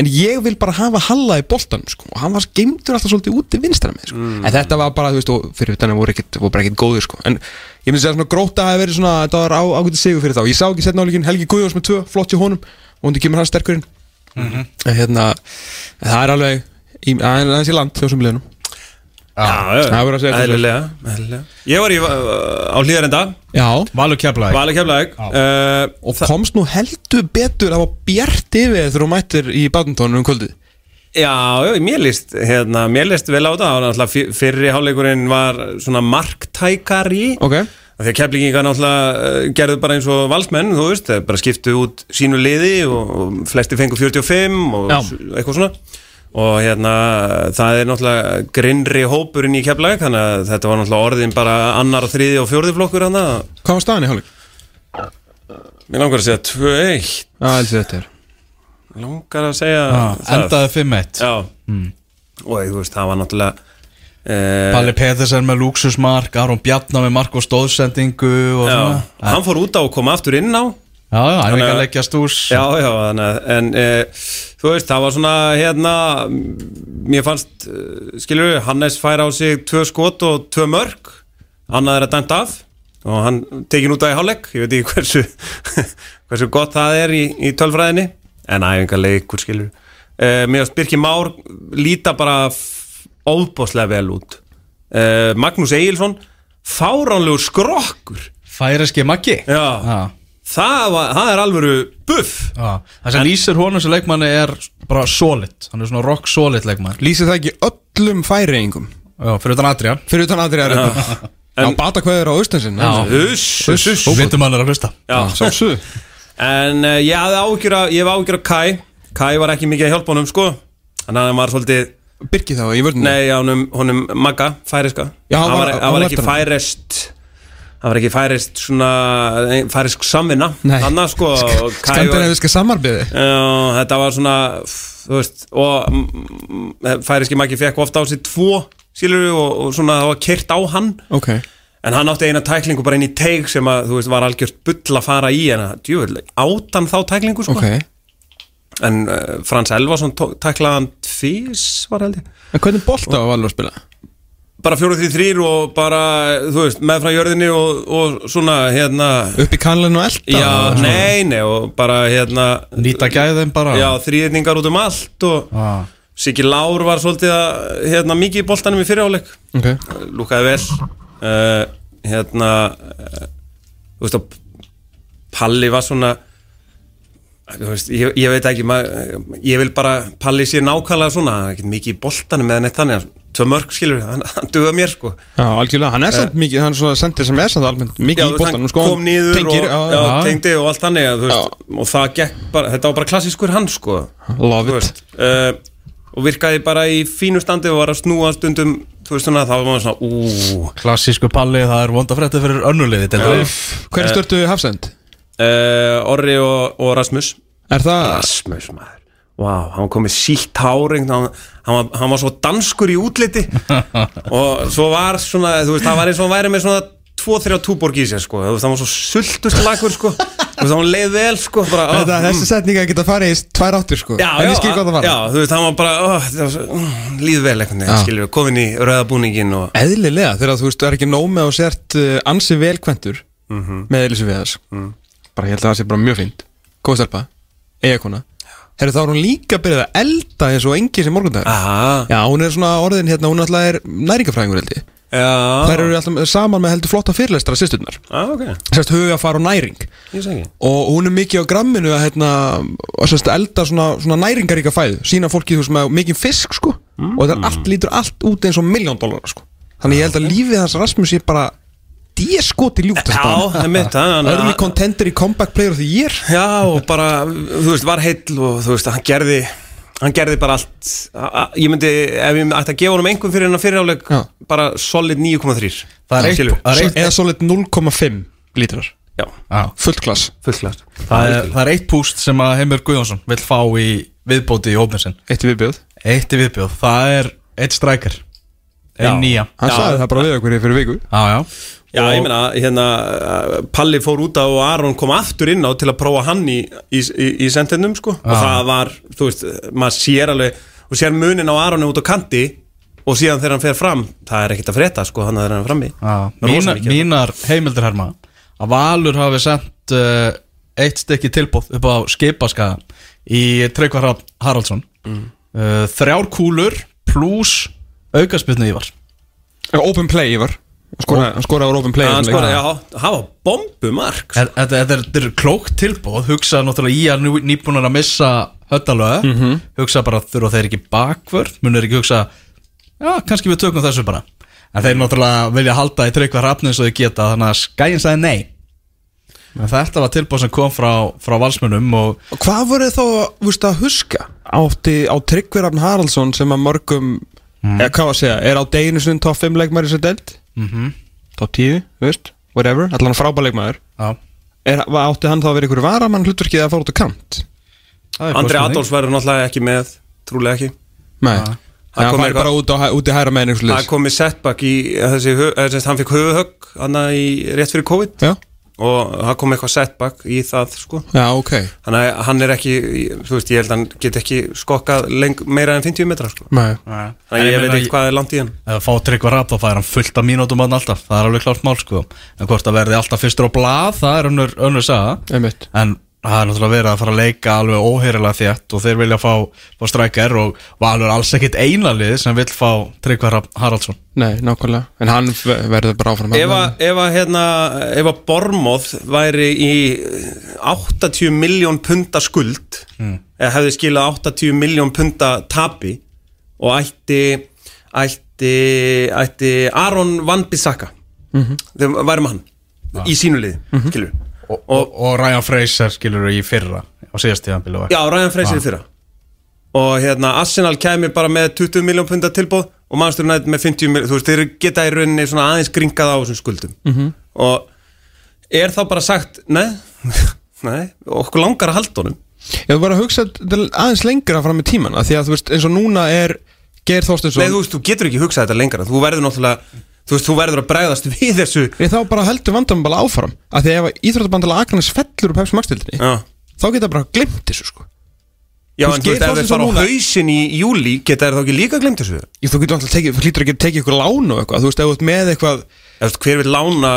en ég vil bara hafa Halla í boltanum sko. og hann var geimdur alltaf svolítið úti vinstra með sko. en þetta var bara, þú veist, og fyrir utan að voru, ekkit, voru bara ekkit góðir sko. en ég myndi segja svona gróta að verið svona, þetta var á, ágætið sigur fyrir þá ég sá ekki setna áleikin Helgi Guðjóns með tvö, flott í honum og hundi kemur hann sterkurinn en hérna, það er alveg í, aðeins í land þjóðsum liðunum
já, já,
Það er bara að segja þetta.
eðlilega, eðlilega Ég var í, uh, á hlýðarenda
já,
Valur keflaði
Valur keflaðið uh,
og komst nú heldur betur að var bjart yfir þegar hún mættir í badmintónu um kvöldið
Já, já, mér líst, hérna, mér líst vel á það og náttúrulega fyr- fyrri hálfleikurinn var svona marktækari
Ok.
Af Því að keflingingar náttúrulega eh, gerðu bara eins og valsmenn, þú veist, þeir bara skiptu út sínu liði og, og flesti fengu 45 og
Já.
s- eitthvað svona og hérna það er náttúrulega grinnri hópurinn í keflæk þannig að þetta var náttúrulega orðin bara annar, þriði og fjórði flokkur hann að
hvað var staðan í hálfleik?
mér langar að segja 2-1
að heldur þetta er
langar að segja
Ah,
það
Endaði 5-1
Já, og þú veist, það var náttúrulega eh,
Palli Petersen með Luxusmark Aron Bjarnar með Marko stóðsendingu og
Já,
svona.
hann fór út á og kom aftur inn á
Já, já, hann er ekki
Þannig
að
að-
leggja stús
Já, já, þannig að, en e, þú veist, það var svona, hérna m- mér fannst, eh, skilur við Hannes fær á sig tvö skot og tvö mörg, annað er að dæmt af og hann tekin út af í hálfleik ég veit ekki hversu hversu gott það er í, í tölfræðinni en æfingarleik, hvort skilur e, mér að Birki Már líta bara f- óbáslega vel út e, Magnús Egilson fáránlegur skrokkur
Færeski Maggi
Já,
Já.
Það, var, það er alvöru buff
Já, það sem lýsir honum sem leikmanni er bara solid, hann er svona rock solid leikmann
lýsir það ekki öllum færiðingum
Já, fyrir utan Adrian
fyrir utan aðrið að reyna Já, bata hvað er á austansinn
Uss, uss, uss
Vittum hann er að hlusta
Já.
Sámsu
En uh, ég hafði ágjur að, ég hef ágjur að Kai Kai var ekki mikið að hjálpa honum sko Þannig að hann var svolítið,
Birki þá í vörðinu
nei, honum, honum Magga, færiska
Já, hann var-
var,
hann
hann var
var
ekki
eftir hann.
færest Hann var ekki færest svona, eh, færesk samvinna
Nei.
Þannig að sko og Kai var-
Skandinaviska samarbiði
Já, þetta var svona f- þú veist, og mm, mm, færiski Maggi fekk ofta á sig tvo skilur og, og svona það var kyrt á hann
Ok
En hann átti eina tæklingu bara inn í teig sem að, þú veist, var algjört bull að fara í en að, djúvel, átan þá tæklingu, sko
Ok En
En uh, Frans Elvason tó- tæklaði hann tvís, var held ég
hvernig bolta var Valur að spila?
Bara fjóruð því þrýr og bara, þú veist, með frá jörðinni og, og svona, hérna
Upp í kanlinu og elda?
Já, nei, nei, og bara, hérna
Nýta gæðin bara
Já, þrýðningar út um allt og
Já.
Siggi Lár var svolítið að, hérna, mikið í boltanum í fyrirháleik
Ok
Lúkaði vel uh, hérna uh, þú veist að Palli var svona þú veist, ég, ég veit ekki maður, ég vil bara Palli sé nákvæmlega svona hann er ekkert mikið í boltanum eða neitt þannig tvö mörg skilur, hann, hann duga mér sko
Já, algjörlega, hann er samt mikið, hann er svo sendir sem er samt almennt mikið
Já,
í
þú veist, hann
bóttanum, sko
kom niður
tengir,
og, já,
já,
tengdi og allt þannig að, þú veist, og það gekk bara, þetta var bara klassískur hann sko Þú
Love it
veist, uh, og virkaði bara í fínu standi og var að snúa stundum þú veist svona, þá var maður svona, ú
Klassísku palli, það er vonda frétti fyrir önnulegði
Hver er
Eh.
störtu hafsend?
uh, Orri og, og Rasmus
Er það,
Rasmus maður Vá, hann kom með sítt háring hann, hann, var, hann var svo danskur í útliti og svo var svona þú veist, það var eins og hann væri með svona 2-3 túborg í sér sko, þú veist, hann var svo sultust lagur sko, þú veist, hann leið vel sko, bara, ah,
Þetta,
mm.
þessi setninga geta farið í tvær áttir sko
já,
En
já,
ég skil hvað það
já,
var
þú veist, hann var bara oh, það var svo, mm, líð vel einhvern veginn, skilur við, komin í rauðabúningin og
eðlilega, þegar þú veist, þú er ekki nóg með og sért uh, ansi velkventur með Elísu Viðars bara ég held að það sé bara mjög fínt Kóðstarpa, eigakona Herru, þá er hún líka byrjuð að elda eins og engi sem morgundag
Ah. aha,
Já, hún er svona orðin hérna, hún alltaf er næringafræðingur held ég
já,
Þær eru alltaf saman með heldur flotta fyrirlestra sýsturnar
já, Ah, ok
Sérst hugafar og næring
ég segi,
og hún er mikið á gramminu að hérna, að sérst, elda svona, svona næringaríka fæðu sína fólki þú veist með mikið fisk sko
Mm.
og þetta er allt, lítur allt út eins og miljón dólar sko. þannig ég held að lífið hans Rasmus er bara dískoti ljúft
já, það er mitt hann-
Það erum við contender í comeback player of the year
Já og bara, þú veist, var heill og þú veist, hann gerði hann gerði bara allt a- a- ég myndi, ef ég ætti að gefa honum einhvern fyrir hennar fyriráleik
Já.
bara solid 9,3
Það er
Skilur
eitt-
við?
það er eitt-
Eða svolít 0,5 lítrar
Já,
Já.
Fullt klass
fullklart
Það er, það er eitt púst sem að Heimir Guðjónsson vill fá í viðbóti í hópnir sinn
Eitt viðbjöð
Eitt í viðbjóð, það er eitt strækar Einn nýja
Hann
Já.
sagði það bara við okkur í fyrir viku
Já, já
Já, ég meina, hérna uh, Palli fór út á og Aron kom aftur inn á til að prófa hann í, í, í, í sendinum, sko, og það var þú veist, maður sér alveg og sér munin á Aronu út á kanti og síðan þegar hann fer fram, það er ekkert að frétta sko, hann að þegar hann er frammi
Já,
Það er rosa
mínar,
mikið.
mínar heimildir herma að Valur hafi sendt uh, eitt stykki tilbúð upp á skipaskaða í Tryggvar Hrafn Haraldsson uh, þrjár kúlur pluss aukaspilnu ívar
Open play Ívar Hann skoraði- Hann skoraði á open play
hann
þessum leik.
skoraði, já, það var bombumark
Þetta þetta- þetta er, þetta er klókt tilbúð hugsa náttúrulega í að nú- nýbúnar að missa höttalöðu,
Mhm.
hugsa bara þurfa þeir ekki bakvörð, munur ekki hugsa já, kannski við tökum þessu bara en þeir náttúrulega vilja halda í Tryggvar Hrafn eins og þau geta, þannig að skæin sagði nei En Þetta var tilbúð sem kom frá, frá valsmönnum og
Og Hvað voru þið þá vist, að huska átti á Tryggverafn Haraldsson sem að mörgum eða hvað var að segja, er á deginu sinni top 5 leikmaður í sér delt
mhm,
-hmm. top 10, þú veist, whatever allan frábær leikmaður
Já,
er, var- átti hann þá að vera ykkur varamann hlutverkið að fara út á kant
Andri Adolfs verður náttúrulega ekki með trúlega ekki
nei,
Það
hann
kom
fari
eitthvað-
bara út, á, hæ- út í hæra með
það
einhvers
kom í setback í eh, þessi, hö- eða sem sagt, hann fekk höfuhögg hann í rétt fyrir COVID
já,
og það kom eitthvað setback í það sko
já, ok
þannig að hann er ekki, þú veist, ég held að hann get ekki skokkað leng, meira en 50 metra sko.
nei.
þannig að ég veit ekki hvað er langt í hann
Ef að fá tryggvar rap þá fær hann fullt af mínútum hann alltaf Það er alveg klart mál sko En hvort það verði alltaf fyrstur á blað Það er önnur, önnur saga
Einmitt.
En það er náttúrulega verið að fara að leika alveg óheirilega þétt Og þeir vilja fá, fá strækjar Og Valur alls ekkit einalið sem vill fá tryggvar rap Haraldsson
nei, nákvæmlega en hann ver- verður bara áfram
Ef að- ef að hérna, ef að Bormóð væri í 80 miljón punta skuld eða hefði skilað 80 miljón punta tapi og ætti ætti, ætti Aron Van Bissaka þegar væri með hann í sínu liði, mm
Og, og, og Ryan Fraser skilur í fyrra Á síðast tíðanbílu
Já, Ryan Fraser
Ah.
í fyrra Og hérna, Arsenal kæmi bara með 20 miljón punta tilbúð og Manchester United með 50 miljón, þú veist, þeir geta í rauninni svona aðeins gringað á þessum skuldum
Mhm.
-hmm. og er þá bara sagt nei, nei okkur langar að halda honum
ég var að hugsa til- aðeins lengra fram í tíman að því að þú veist, eins og núna er Geir Þorstinsson
Nei, þú veist, þú getur ekki hugsað þetta lengra þú verður náttúrulega, þú veist, þú verður að bregðast við þessu
Ég þá bara heldur vandamann bara áfram að því ef Íþróttabandala Akranes fellur úr Pepsi Max-tildinni
Já,
þá geta bara glimt þessu sko
já
Þú
en þú veist,
skilur
ef
það
þeir
sem
fara á
núna.
hausinn í júli geta þeir þá ekki líka glemt þessu
Ég, þú getur alltaf tekið, þú hlýtur ekki að tekið ykkur lán og eitthvað þú veist, ef þú ert með eitthvað
Ef þú veist, hver vil lána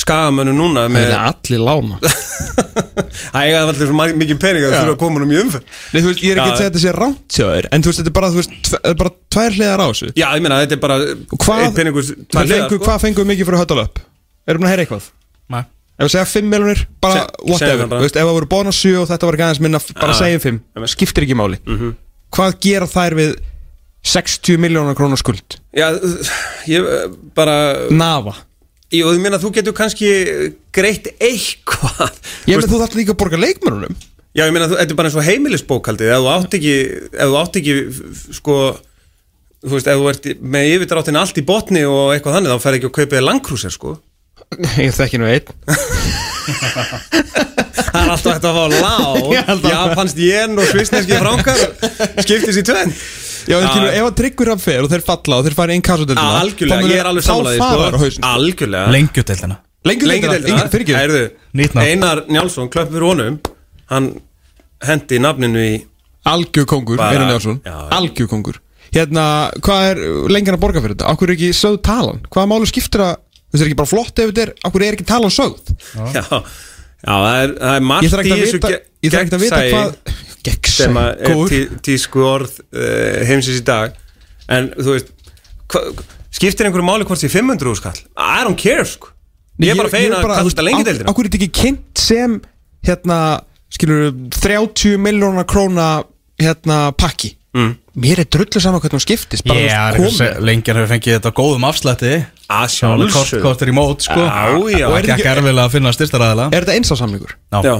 skagamönnum núna með
Það er allir lána
Það eiga allir svo mikið pening að
Já.
það þurfa að koma um í umferð
Nei, þú veist, ég er
Já.
ekki að segja að þetta sé rámt hjá þér En þú veist, þetta er bara, þú veist, tve- þetta er bara tvær hliðar á þessu
Já, ég meina, þetta er bara
Hvað,
einn peningur tvær
hvað,
hliðar,
fengu,
sko.
hvað fengum við mikið fyrir höll og löp? Erum við að heyra eitthvað?
Nei.
Ef við segja 5 miljonir, bara
Se- segðu
whatever
það bara.
Þú veist, ef það voru bónus 7 og þetta var ekki aðeins minna f- Bara
Já.
segjum 5,
Einmitt.
skiptir ekki máli
Mhm.
Hvað gera þær við 60 miljónar krónar skuld?
Já, ég bara
Nafa
Ég, ég meina, þú getur kannski greitt eitthvað Þú
Ég menn, þú þarf líka að borga leikmörunum
Já, ég meina, þú- þetta er bara eins og heimilisbókaldið Ef þú átt ekki, ef þú átt ekki f- f- sko, þú veist, ef þú ert í- með yfirdráttin allt í botni og eitthvað þannig þá fer ekki að kaupa þér langkrúsir, sko
Ég þekki nú einn
Það er alltaf þetta að fá
Ég held
lá
að-
Japansk jen og svisneski frankar skiptis í tvenn
Já, en
Já.
skilur, ef að tryggvir hann fer og þeir falla og þeir fara inn kassadeldina
Algjörlega, ég er alveg sko.
Þá fara þær á
samanlega
hausinn
Algjörlega
Lengjudeildina
Lengjudeildina,
Lengjudeildina,
fyrirgefðu.
heyrðu,
Nýtt nafn.
Einar Njálsson, klöppur honum Hann hendi nafninu í
Algjör kongur,
Bara-
Einar Njálsson
Já, já.
Algjör kongur Hérna, hvað er lengan að borga fyrir þetta? Akkur er ekki sögð talan? Hvaða máli skiptir að Þú veist, er ekki bara flott ef þetta er Akkur er ekki talan sögð?
Já, já það, er, það er margt
Ég þarf ekki
í
að
þessu
vita
ge-
Ég þarf ekki að vita
gegnsæi
hvað Gegnsæ
sem að er
Góður
tí, tísku orð uh, heimsins í dag en þú veist hva, skiptir einhverju máli hvort því 500 skall I don't care sko ég er bara fegin að kalla þetta lengi deildina
Akkur er þetta ekki kynnt sem Hérna, skilur 30 milljónar króna Hérna, pakki mm. Mér er drullu saman hvernig hún skiptist bara,
Já,
þú veist, komið.
lengjan hefur fengið þetta á góðum afslætti
að
Alveg kort,
sjálfsög
kort er í mót, sko
Já, já.
Og er ekki erfilega að finna styrstaræðila
Er þetta eins á samlingur?
já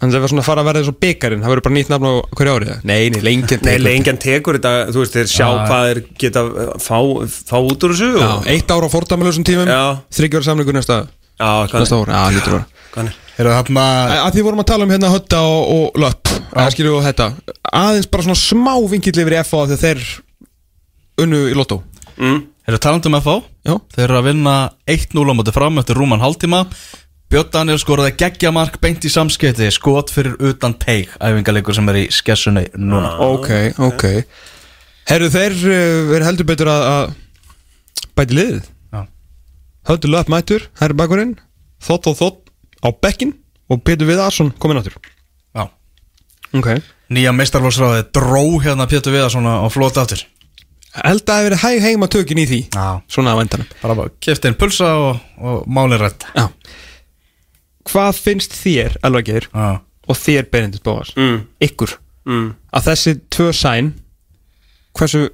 Þannig að það var svona að fara að verða eins og byggarinn Það verður bara nýtt nafn á hverju árið Nei, nei, lengjant
Nei, lengjan tekur þetta, þú veist, þeir sjá hvað þeir geta eh, fá, fá út úr þessu
Já,
og,
eitt ár á fordæmalösum tímum
Já.
Þryggjör samlingur næsta,
Já, hvað
næsta ára Já, lítur ára
hann er
Eru þarna
Að því vorum að tala um hérna hötta og, og löpp Það skilju og þetta Aðeins bara svona smá vinkill yfir í FA Þegar þeir unnu í lottó
Mm,
Eru um talandum FH
Já.
Þeir eru að vinna 1-0 á móti fram eftir rúman hálftíma Björn Daniel skoraði geggjamark beint í samskipti Skot fyrir utan teig Æfingarleikur sem er í skessunni núna
Ok, ok Herru þeir uh, er heldur betur að, að Bæti liðið
Já.
Höttu löpp mættur, herri bakurinn Þótt og þótt á bekkin Og Petur Viðarsson kominn áttur
Já.
Ok
Nýja meistarflóksráði dró hérna Pétur Viðarsson á flót aftur
Held að það hefur verið hæg heima tökin í því
Já.
Svona að væntanum
Bara bara kefti inn pulsa og, og málið rætt
Já Hvað finnst þér, alveg geir
Já.
og þér Benedikt Bóas
Mm.
ykkur,
mm.
að þessi tvö sæn hversu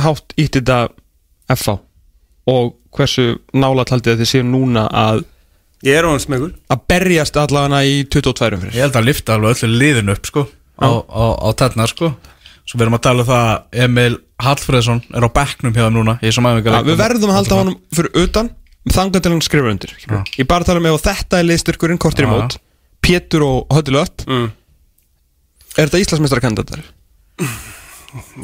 hátt ítti þetta FH og hversu nála taldið þið séu núna að
Ég er hún smegur
að berjast allavega í 22 fyrir
Ég held að lifta alveg öllu liðinu upp sko á, á, á tennar sko Svo verðum að tala um það að Emil Hallfreðsson er á bekknum hjá þeim núna í þessum
ja,
æfingarleik
Við verðum að halda honum fyrir utan þangað til hann skrifur undir
Já.
Ég bara tala um ef þetta er liðstyrkurinn kortir
Já.
í mót Pétur og Höddi Lött
Mm.
Er þetta Íslandsmeistarakandidatar?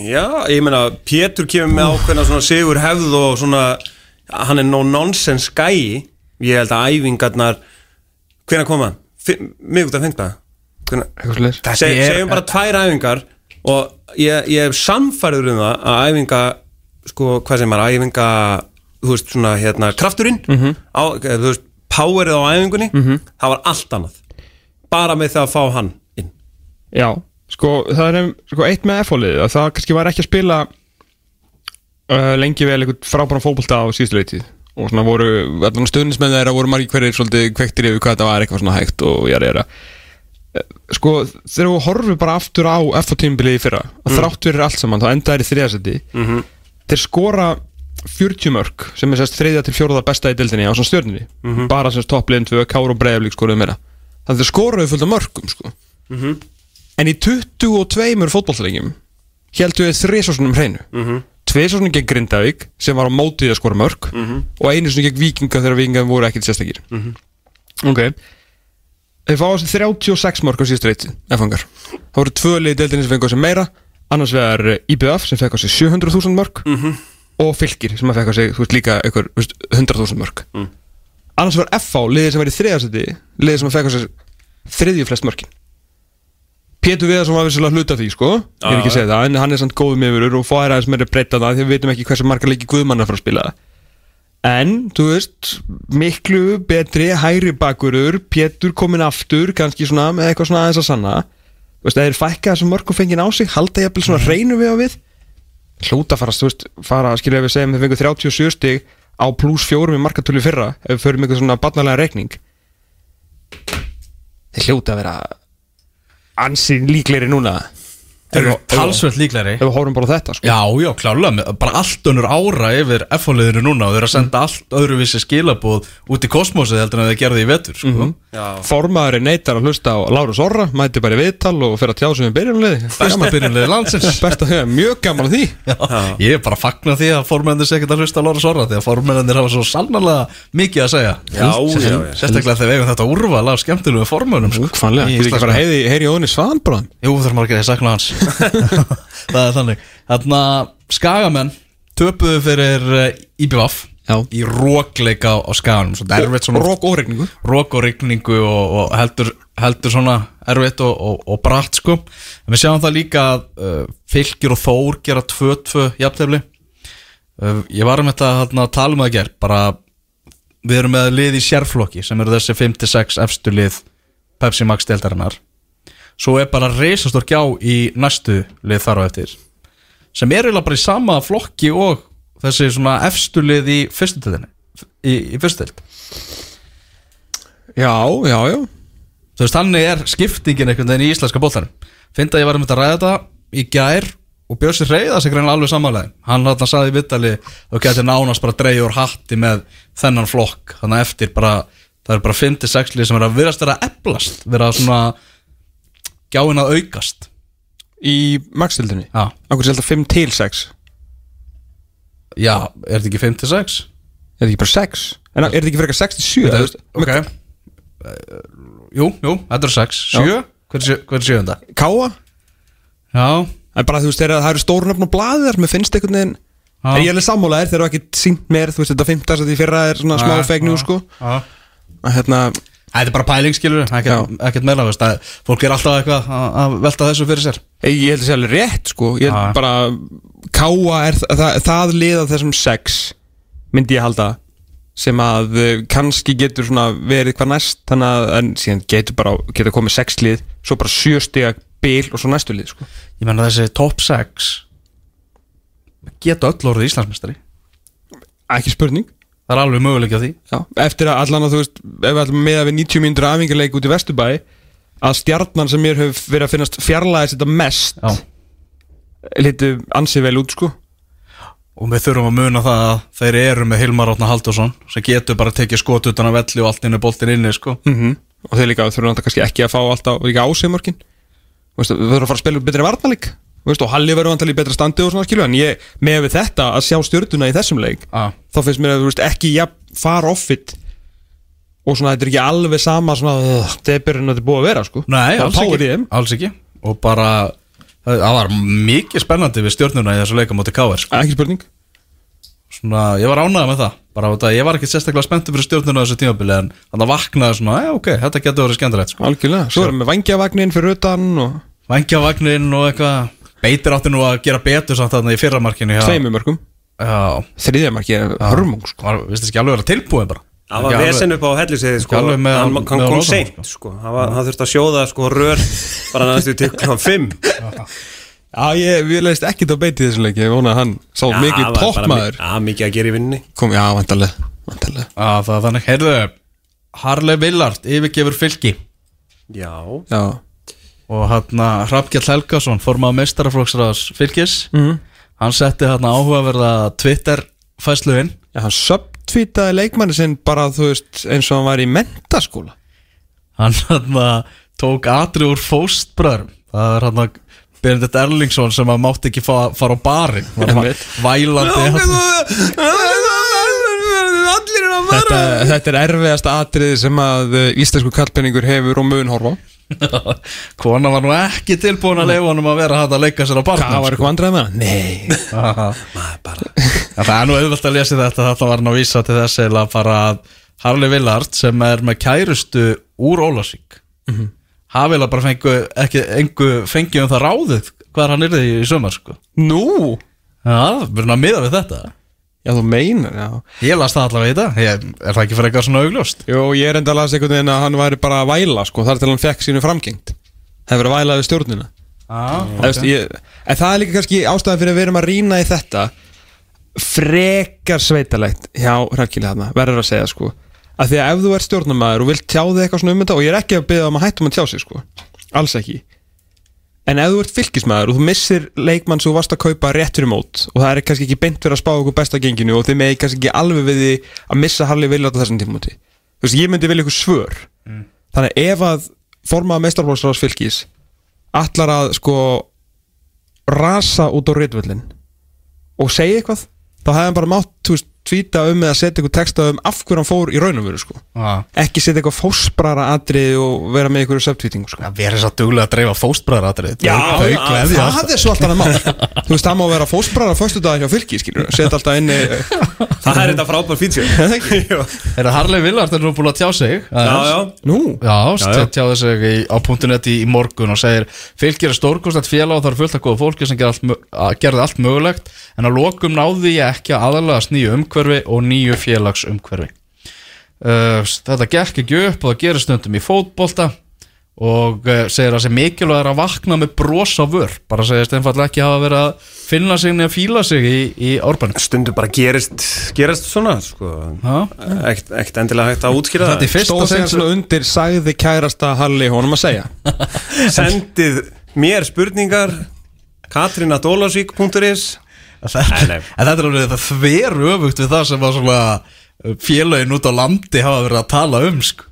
Já, ég meina, Pétur kemur með ákveðna svona sigur hefð og svona hann er no-nonsense gæi ég held að æfingarnar hvenær kom hann? Mjög út að fengta
Eitthvað sliðis?
Þetta
Seg,
er-
segjum bara tvær æfingar og ég, ég er samfærður um það að æfinga sko, hvað sem er, æfinga þú veist, svona, hérna, krafturinn
Mhm.
á, eh, þú veist, powerið á æfingunni það var allt annað bara með það að fá hann inn
Já, sko, það er um, sko, eitt með F-fólið að það kannski var ekki að spila uh, lengi vel einhvern frábæran fótbolta á síðustu leitið og svona voru, allan stöðnismenn þeirra voru margir hverjir svolítið kvektir yfir hvað þetta var eitthvað svona hægt og jara jara Eh, sko, þegar við horfum bara aftur á F-tímbilið í fyrra og þrátt fyrir allt saman, þá enda er í þriðasetti mm -hmm. þeir skora 40 mörg sem er sérst þriðja til fjóruða besta í deildinni á svona stjörninni, bara sérst toppliðin tvö, Kár og Breiðablík skoruðu meira þannig að þeir skoruðu fullt af mörgum sko. En í 22 fótballtælingjum heldur við þrisásunum hreinu mm -hmm. Tvisásunum gegn Grindavík sem var á mótið að skora mörg og einu sinni gegn Víkinga þegar Víkinga voru ekkit sérstakir Ok Þeir fá á þessi 36 mörg á síðast reyti efangar Það voru tvö liði deildinni sem fengu á sig meira annars vegar eh, IBF sem fekk á sig 700.000 mörg -hmm. og Fylkir sem að fekk á sig þú veist, líka ykkur þú veist, 100.000 mörg mm. Annars var FH liðið sem var í þriðarsæti liðið sem að fekk á sig þriðju flest mörkin Pétur Viðarsson var vissulega hluta af því sko Ég er ekki að segja það, en hann er samt góðum yfir og færa aðeins meira breyta það því að við veitum ekki hversu marga leiki Guðmann er að fara að spila En, þú veist, miklu betri hægri bakurur, Pétur komin aftur, kannski svona með eitthvað svona aðeins að sanna. Þú veist, ef þeir fækka þessum mörgum fengin á sig, halda jafnvel svona reynu við á við. Hlúta fara, þú veist, fara, skilja ef við segjum, við fengum 37 stig á pluss fjórum í markatölu í fyrra, ef við förum eitthvað svona barnalega reikning. Þeir hljóta að vera ansinn líklegri núna.
Þeir eru
Ef við-
talsvöld líklegri
Ef við horfum bara á þetta, sko.
Já, já, klálega, með- bara allt önnur ára yfir F-fóliðinu núna og þeir eru að senda allt öðruvísi skilabóð út í kosmosið heldur en þeir gerði í vetur, sko
Mhm.
Formaðurinn neytar að hlusta á Lárus Orra, mæti bara í viðtal og fer að tjá um sem við byrjum liði.
Besta byrjunlega landsins
Best að höfða mjög gaman að því
já, Ég er bara að fagna því að formennir sé ekkert að hlusta á Lóra Sorra því að formennir hafa svo sannarlega mikið að segja
Já, já, já.
Sérstaklega þegar við eigum þetta úrval af skemmtilegu formennum sko.
Úkfannlega,
Í
ég ekki bara
íslenska.
heyri, heyri Óðinni Svanbróðan
Jú, þarf margir að ég sakna hans Það er þannig Þarna, skagamenn töpuðu fyrir eh, IBVF
Já.
í rókleika á, á skaganum Svo derfitt svona
Rók og regningu
rók og rigningu og, og heldur, heldur svona erfitt og, og, og bratt sko en við sjáum það líka að uh, fylgir og þór gera 2-2 jafntefli uh, ég var um þetta hérna, að tala um það ger bara við erum með lið í sérflokki sem eru þessi 5-6 efstu lið Pepsi Max deildarinnar svo er bara reisastór gjá í næstu lið þar á eftir sem er eiginlega bara í sama flokki og þessi svona efstu lið í fyrstu deildinni í, í fyrstu deild
Já, já, já
þú veist, þannig er skiptingin einhvern veginn í íslenska bóttanum finnst að ég var um þetta að ræða þetta í gær og Björsi reyða sig greinlega alveg samanlega hann hann saði í vittali og geti nánast bara dreigja úr hatti með þennan flokk þannig að eftir bara, það er bara 5-6 lið sem er að viðast vera að eflast vera svona gjáin að aukast
Í magstildinni
já,
Akkur sér alltaf 5 til 6
já er þetta ekki 5-6?
Er þetta ekki bara 6? En er þetta ekki frekar 6 til 7?
ok, ok Eh, jú, jú, þetta er 6 7? Hver er sjö- hver er sjöunda?
Káa?
já,
En bara þú veist, þegar það eru stórnöfn og blaðið þar Mér finnst einhvern veginn
Já.
En ég er alveg sammálaðir, þeir eru ekkert sínt mér Þú veist, þetta 15 sem því fyrra er svona smá
Já,
fegnu, sko
já
En Hérna,
Þetta er bara pæling skilur, ekkert, ekkert meira veist, að, Fólk er alltaf eitthvað að- að velta þessu fyrir sér
ég held að sé alveg rétt, sko Ég
Já.
held bara, Káa er það, það, það liða þessum 6 Myndi ég halda sem að uh, kannski getur svona verið hvað næst þannig að en síðan getur bara getur komið sex lið svo bara sjö stiga bil og svo næstu lið sko.
Ég menna þessi top 6 Geta öll orðið Íslandsmeistari
ekki spurning
Það er alveg möguleik á því
Já. eftir að allan að þú veist ef við ætlum með að við 90 mínútur afingarleik út í Vesturbæ að stjarnan sem mér hefur verið að finnast fjarlæðis þetta mest
Já.
litu ansið vel út sko
Og við þurfum að muna það að þeir eru með Hilmar Átna Haldursson sem getur bara tekið skot utan að velli og allt inn er boltin inni sko.
-hmm. og þeir líka þurfum alltaf kannski ekki að fá alltaf líka ásigmörkin við þurfum að fara að spila betri varnalik Veistu, og Halli verður vantalið betra standi og svona skilju en ég, með við þetta að sjá stjörnuna í þessum leik
ah.
þá finnst mér að þú veist ekki ja, far offit og svona þetta er ekki alveg sama svona "Ugh, þetta er byrjun að þetta er búið að vera sko
Nei,
það
alls
páir í
ekki,
þeim
alls ekki Og bara, það það var mikið spennandi við stjórnuna í þessu leika móti K.R. Sko.
ekki spurning
svona, ég var ánægð með það bara á þetta, ég var ekki sérstaklega spenntur fyrir stjórnuna á þessu tímabili en þannig að vaknaði svona, "Eh, ok, þetta getur verið skemmtilegt sko.
algjörlega svo erum við vangjavagnin fyrir utan og
vangjavagnin og eitthvað beitir átti nú að gera betur samt þarna í fyrramarkinu hjá-
tveimur mörgum
já,
þriðjamarki er hörmung sko
var, vistu ekki alveg að vera tilbúin bara
Það var
Ekki alveg-
vesen upp á helliseiði sko.
Ekki alveg með-
hann, hann
með
kom
Rósan,
seint sko. hann, var, hann þurfti að sjóða sko, rör bara næstu til klukkan 5
já ég, ég leist ekkit á beiti í þessum leik ég vona að hann sá mikið toppmaður
Já, mikið að gera í vinninni
kom, já, vantarlega, vantarlega.
Já, það var þannig, heyrðu, Harley Villard yfirgefur fylki
Já,
Já.
og hérna Hrafnkjall Helgason formað meistaraflokksraðs fylkis mm. hann setti hérna áhugaverða Twitter fæsluinn
Já, hann subtvítaði leikmanni sinn bara, þú veist, eins og hann var í mentaskóla.
hann hann tók atri úr fóstbröðrum það er hann að Benedikt Erlingsson sem að mátti ekki fa fara á barinn var hann
Einmitt.
vælandi
Allir er að
bara-
Þetta, þetta er erfiðasta atriði sem að uh, íslensku kallpenningur hefur og mun horfa. á.
kona var nú ekki tilbúin að leifa honum að vera hann að leika sér á barinn
Hvað var eitthvað andræði með hann? Nei.
maður bara
En það er nú auðvelt að lesa þetta þetta var hann að vísa til þess eða bara að Harley Villard sem er með kærustu úr Ólasík
Mhm.
hafi eða bara fengu, ekki, engu fengið um það ráðið hvar hann yrði í sumar sko.
Nú?
Já, verður hann að miða við þetta
Já, þú meinar, já
Ég las það allavega í þetta Ég- Er það ekki fyrir eitthvað svona augljóst?
Jó, ég er enda að lasa einhvern veginn að hann væri bara að væla sko, þar til hann fekk sínu framgengt Það er verið að væla við stjórnina
Ah,
okay. ég, En það er líka kannski ástæðan fyrir að við erum að rýna í þetta Frekar sveitalegt hjá Hrafkili þarna, verður að segja sko að Því að ef þú ert stjórnamaður og vilt tjá þig eitthvað svona um þetta og ég er ekki að byggja um að hættum að tjá sig sko Alls ekki En ef þú ert fylgismæður og þú missir leikmann sem þú varst að kaupa rétt fyrir mót og það er kannski ekki beint fyrir að spá okkur besta genginu og þið megi kannski ekki alveg við því að missa Harley Willard á þessum tímúti Þú veist, ég myndi vilja ykkur svör Þannig að ef að formaða meistarfólksráðs fylgis allar að sko rasa út á ritvöllin og segja eitthvað þá hefði hann bara mátt, þú veist, tvíta um eða setja ykkur texta um af hverju hann fór í raunum veru sko
ah.
ekki setja eitthvað fósbrara atriði og vera með ykkur söptvítingu sko
Það verður svo duglega að dreifa fóstbræðar aðrið
Já,
þau
að-
gleði
Það er svo alltaf mál Þú veist, það má vera fósbræðar á föstu dag hjá fylki, skilur Sett alltaf inni
Það er þetta frábær feature
Það ekki?
Er það Harley Willard er nú búin að tjá sig
Já, já
Nú
Já,
Já, já.
stjáði þessu í- á punktunet í, í morgun og segir Fylgir er stórkostlegt félag og það er fullt af góða fólki sem gerði allt, mö- að- gerði allt mögulegt en að lokum náði ég ekki að aðalagast nýju umhverfi og nýju félagsumhverfi uh, Þetta gekk ekki upp og það gerir stundum í fótbolta og uh, segir að sé mikilvæg er að vakna með bros á vör bara segist einfallega ekki hafa verið að finna sig nefn að fíla sig í, í árbænum
Stundu bara gerist, gerist svona sko.
Ha?
Ekkert ekkert endilega hægt að útskýra
Þetta er
það
fyrsta
Stóð
sinn sem
þegar svona undir sagði kærasta Halli honum að segja
Sendið mér spurningar katrinadólasík.is
Þetta,
Nei, nei.
en þetta er alveg þetta þver öfugt við það sem var svona uh, félagin út á landi hafa verið að tala um sko.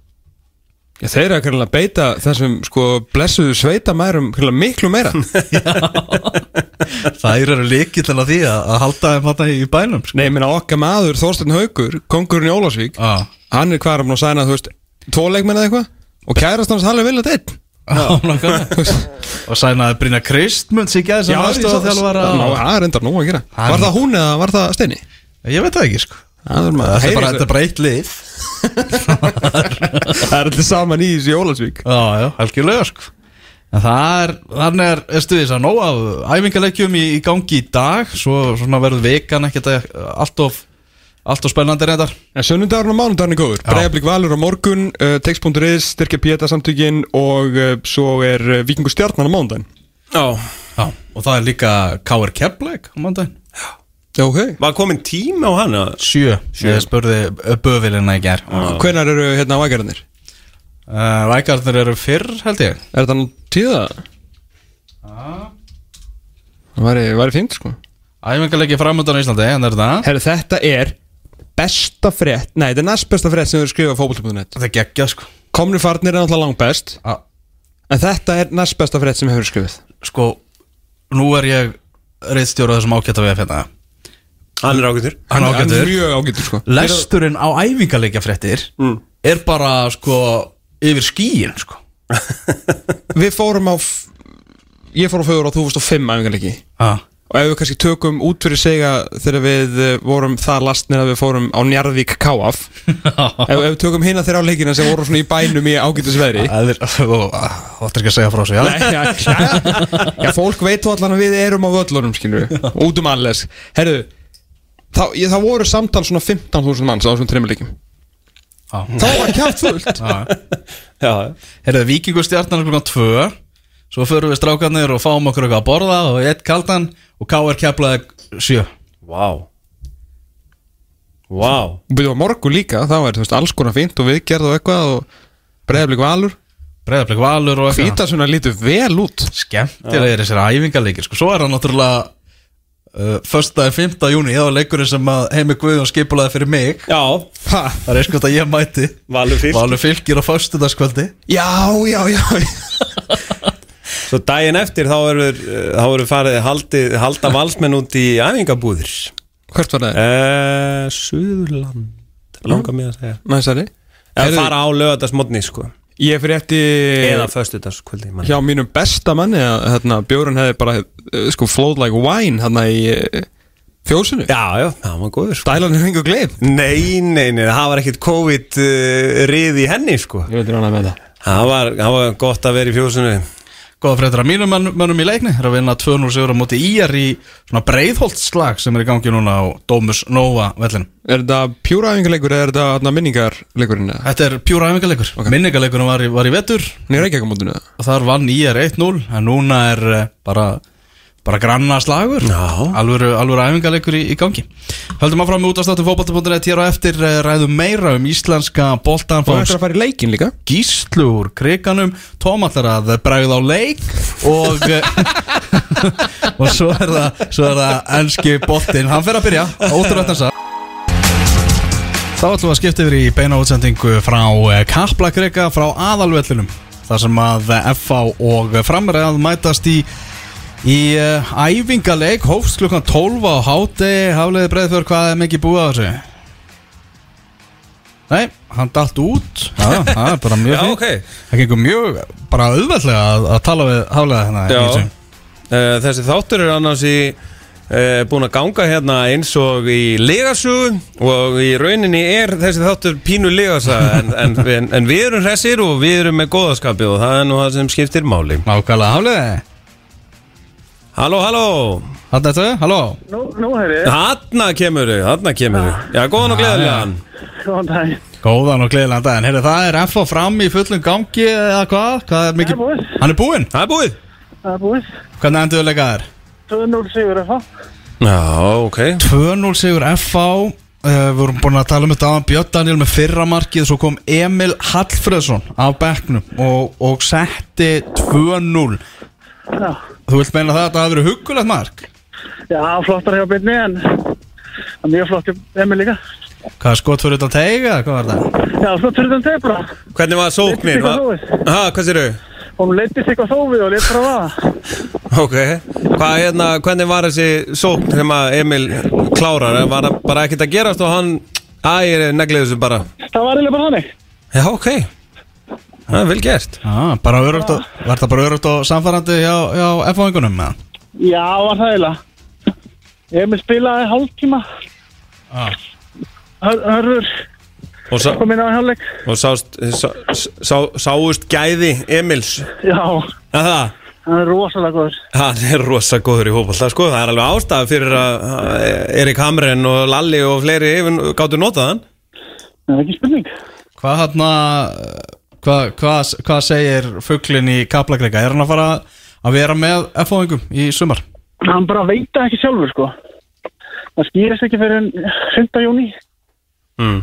Já, þeir eru að kærlega beita þessum sko blessuðu sveitamærum kærlega miklu meira
Þær eru líkillin að því að, að halda þeim þarna í bænum sko.
Nei, ég meina okkar maður Þorstein Haugur, kongurinn í Ólásvík
ah.
Hann er hvað hann að sæna, þú veist, tvo leikmenn eða eitthvað Og kærast hans Halli Vilja deitt
Ah, og sænaði Brynja Kristmunds í gæð sem aðstofa þjálfara og...
Það er enda nú að gera
Hann-
Var það hún eða var það Steini?
ég veit það ekki sko.
Það er maður-
þetta er bara,
Heyri-
þetta er bara eitt lið
Það er allir saman í þessu Jólasvík
já, já, algjörlega sko. en það er, þannig er, er stuðis að nóg af æfingaleikjum í, í gangi í dag svo svona verður vekan ekkert að- allt of, allt of spennandi reyndar
En sönnundagarn og mánundagarn er góður Breiðablík Valur á morgun, uh, text.is, styrkja Pieta samtökin og uh, svo er uh, Víkingur Stjarnan á mánundaginn
Já,
Já, og það er líka K.R. Keflæk á mandaginn
Ok
var komin tími á hana
Sjö, Sjö. ég spurði Bövilina í gær
Hvenær eru hérna vægarnir?
uh, Rækarnir eru fyrr held ég
Er þetta nú tíða? Það væri, væri fínt sko
Æfingalegi framöndan á Íslandi, en er það
Herru þetta er besta frétt Nei, þetta er næst besta frétt sem við skrifa á fótbolti.net
Það er geggjað sko
Komnir farnir er náttúrulega langbest
A,
En þetta er næst besta frétt sem við hefur skrifið
Sko, nú er ég reyðstjóra þessum ágæta við að finna
Hann er ágættur
Hann er
Hann er
ágætur
Mjög ágætur sko
Lesturinn á æfingalegja fréttir er bara sko yfir skíin sko
Við fórum á f- Ég fór á fjögur og þú fórst á fimm æfingarleiki
ah.
Og ef við kannski tökum út fyrir segja þegar við eh, vorum það lastnir að við fórum á Njarðvík Káaf ef, ef við tökum hina þeirra á leikina sem voru svona í bænum í ágætisveðri
Það er, og það er ekki að segja frá sig já.
já, já, fólk veit þó allan að við erum á völlunum, skilur við Út um alles Herðu, þá, ég, það voru samtal svona 15.000 manns á þessum treymur leikim
Já.
Þá var kjátt fullt
Já,
Herðu, vikingustjarnar klukkan 2 Svo förum við strákanir og fáum okkur eitthvað að borða og eitt kaldan og K.R. keflaði 7
vá Vá
Við varum morgun líka, það var þú veist, alls konar fínt og við gerðum eitthvað og breyðablik valur
Breiðarblik valur og eitthvað
Hvíta svona lítur vel út
Skemmtilega er þessir æfingarleikir sko. Svo er hann náttúrulega uh, Föstaði 5. júni, það var leikurinn sem að Heimi Guðjón skipulaði fyrir mig
Já,
ha.
Það er eitthvað að ég mæti
Valur fyrst
Valur fylgir á föstudagskvöldi
Já, já, já
Svo daginn eftir þá verður þá verður farið haldi, halda valsmenn út í æfingabúðir
Hvert var það?
uh, Suðurland langar mér að segja
Næsari
Eða
Heyrðu-
fara á lögadagsmotni sko
Ég frétti
eða föstudagskvöldi mann.
hjá mínum besta manni að hérna, bjórun hefði bara eh, sko, flowed like wine hérna í eh, fjósinu
Já, já, það var góður sko
Dælan er hengur gleif
Nei, nei, nei, það var ekkit COVID uh, rið í henni sko
Ég veitir hana með það
það var, það var gott að vera í fjósinu
Góða fréttur að mínum mönn- mönnum í leikni er að vinna 200 sigur á móti IR í svona breiðholtslag sem er í gangi núna á Dómus Nova vellinum.
Er þetta pjúra æfingarleikur eða er þetta þarna, minningarleikurinn? eða?
Þetta er pjúra æfingarleikur. Okay. Minningarleikurinn var, í- var í vetur
Hann er ekki ekki á mótinu það
og þar vann IR 1-0 en núna er eh, bara, bara granna slagur.
Já.
Alvöru, alvöru æfingarleikur í, í gangi. Höldum áfram með útastáttum fótbolta.net hér á eftir eh, ræðum meira um íslenska boltan.
Og
Fáum
eftir að fara í leikin líka
gíslu úr kriganum Tom allar að bregða á leik og eh, og svo er það, svo er það enski boltinn, hann fer að byrja ótrúvægt hans að Þá ætlum við að skipta yfir í beina útsendingu frá Kaplakrika frá aðalvellinum þar sem að eh, FH og framræð mætast í í uh, æfingaleik hófst klukkan 12 á háti hafliði breiðfjör hvað er mikið búið á þessu? Nei, hann dalt út Já, það er bara mjög
Já,
fínt.
ok
Það gengur mjög bara auðveldlega að, að tala við haflega hérna í
Já.
þessu.
Eh, Þessi þáttur er annars í uh, búin að ganga hérna eins og í legasögu og í rauninni er þessi þáttur pínu legasaga en, en, en, en við erum hressir og við erum með góðaskapi og það er nú það sem skiptir máli
Nákvæmlega haflega
Halló, halló
Hann þetta, halló
Nú, nú hef ég,
Hanna kemur þau, hanna kemur þau Já, góðan og gleðilegan
góðan dag
Góðan og gleðilegan daginn, heyrðu það er FH fram í fullum gangi eða hvað? Hvað er mikið?
Það er búið.
Hann er búinn,
Það er búið
Það er búið
hvernig endur leika þér?
2-0 sigur eða það
Já, ok
2-0 sigur FH uh, Við vorum búin að tala um þetta aðan Björn Daniel með fyrra markið Svo kom Emil Hallfreðsson af bekknum og, og setti 2-0
Já,
Þú vilt meina það að þetta hafi verið huggulegt mark?
já flottar hjá byrni en en mjög flott hjá Emil líka
Hvað skot fyrir þetta teiga? Hvað var það?
Já, svo turðum tefla
Hvernig var sóknin?
Leiddist
Va-
eitthvað
Ha, hvað sér þau?
Hún leittist eitthvað þófið og leitt frá það
Ok, hvað hérna, hvernig var þessi sókn sem að Emil klárar? Var það bara ekkert að gerast og hann ægir neglið þessu bara?
Það var eiginlega bara þannig
Já, ok, það er vel gert.
Ah, bara örugt og, var þetta bara örugt og samfærandi hjá, hjá FH-ingunum með hann?
Já, var það eiginlega Emil spilaði hálftíma
Ah.
Hör- Hörfur
Og, sá,
kom inn á hálfleik
og sást, sá, sá, sáust gæði Emils,
Já,
að það?
hann er rosalega góður
Hann er rosa góður í hópa, sko, það er alveg ástæða fyrir að að Erik Hamren og Lalli og fleiri yfir gáttu notað hann.
Það er ekki spurning
Hvað hann hvað, hvað, hvað segir fugglin í Kaplagreika? Er hann að fara að vera með FH-ingum í sumar?
Hann bara veit það ekki sjálfur sko Það skýrist ekki fyrir en 5. júni
Mm.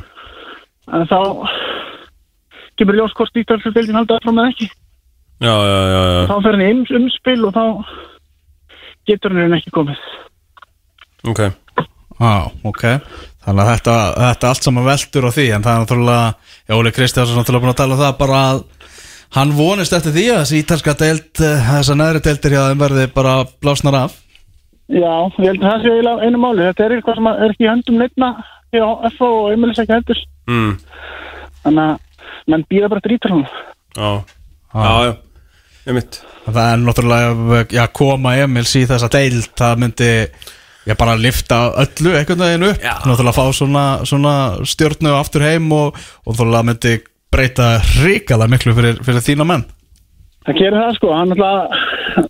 en þá kemur ljós hvort ítalsfjöldin halda áfram eða ekki
Já, já, já, já,
þá fer hann í um, umspil og þá getur hann í raun ekki komið
ok.
Já, ok Þannig að þetta, þetta allt saman veldur á því En það er náttúrulega, Jóli Kristjánsson er náttúrulega búin að tala um það bara að hann vonist eftir því að þessi ítalska deild eh, þessar neðri deildir hjá þeim verði bara blásnar af
Já, ég held að það sé eiginlega einu máli þetta er eitthvað sem er ekki í höndum neittna hjá FO og Emilis ekki heldur
Mm.
þannig að menn býða bara drítur hann
Já, já, já, ég mitt.
Það er náttúrulega já, koma Emils í þessa deild það myndi ég bara lifta öllu einhvern veginn upp
Já.
náttúrulega fá svona, svona stjórnu aftur heim og, og náttúrulega myndi breyta ríkala miklu fyrir, fyrir þína menn
Það gerir það sko, hann, alltaf,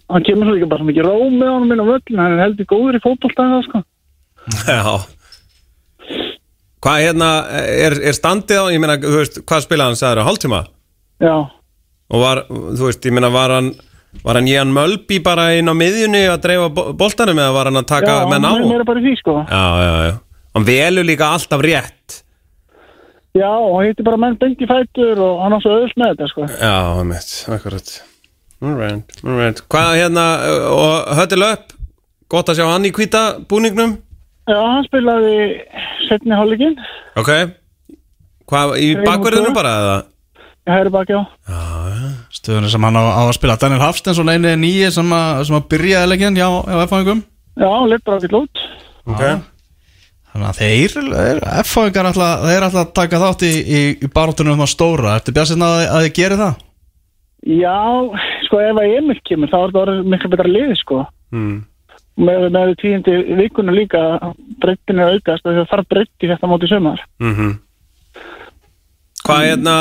hann kemur svo líka bara mikið róm með honum inn á völlin hann er heldur góður í fótbolta en það sko
Já Hvað hérna, er, er standið á, ég meina, þú veist, hvað spilaði hann sagður á hálftíma?
Já,
Og var, þú veist, ég meina, var hann, var hann Jan Mölby bara inn á miðjunni að dreifa bo- boltanum eða var hann að
já
taka
hann
menn á?
er
Já,
meira bara í því sko
já, já. Hann velur líka alltaf rétt.
Já, og hittir bara menn beint í fætur og hann á svo auðvist með þetta sko
Já, mitt, akkurat. Alright, alright. Hvað hérna, og höttil upp, gott að sjá hann í hvita búningnum.
Já, hann spilaði setni hálfleikinn
Ok. Hvað, í
Þreim og
bakverðinu
tvö.
bara eða?
í hægri bakjá.
stöðunni sem hann á, á að spila Daniel Hafstensson eini nýi sem að, sem að byrjaði leikinn hjá, hjá F-fæðingum
Já, hann leitt bara ekkert út.
Ok.
þannig að þeir, þeir F-fæðingar þeir ætla að taka þátt í, í, í baróttunum um að stóra ertu bjassin að, að þið geri það?
Já, sko ef að Emil kemur þá er það orðið miklu betra liði sko.
Mm.
Með, með tíundi vikuna líka breyttin er að aukast og það þarf breytti þetta móti sumar.
Mhm Hvað hérna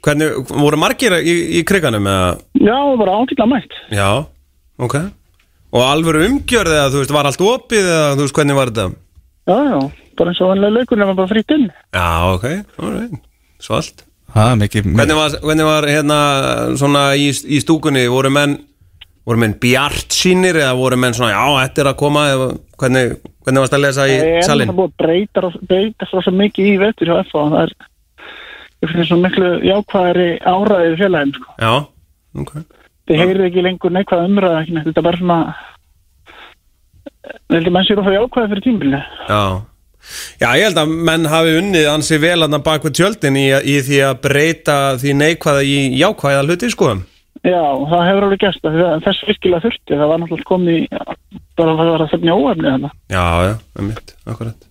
Hvernig, voru margir í, í kriganum eða?
Já, bara ágætlega mætt.
Já, ok Og alvöru umgjörð eða, þú veist, var allt opið eða, þú veist, hvernig var þetta?
Já, já, bara eins og vanlega leikur nema bara frýtt inn.
Já, ok, alright, svalt
Það er mikið
Hvernig var, hvernig var hérna, svona í, í stúkunni, voru menn voru menn bjart sínir eða voru menn svona, já, þetta er að koma eða, hvernig, hvernig varst að lesa í
Það er
salin?
það búið að breyta, rós- breyta svo sem mikið í vetur hjá FH. Það er, ég finnst svo miklu jákvæðari áræðið félagin, sko.
Já, ok
Þið heyrið ekki lengur neikvæða umræða, ekki neitt. Þetta er bara svona, ég held að menn sér ofta jákvæði fyrir tímbilinu.
Já Já, ég held að menn hafi unnið ansi vel hann bak við tjöldin í, í því að breyta því neikvæða í jákvæða hluti, sko
Já, það hefur alveg gæst að þess virkilega þurfti. Það var náttúrulega komið í, bara það var að þöfni óefni þarna.
Já, já, um mitt, akkurat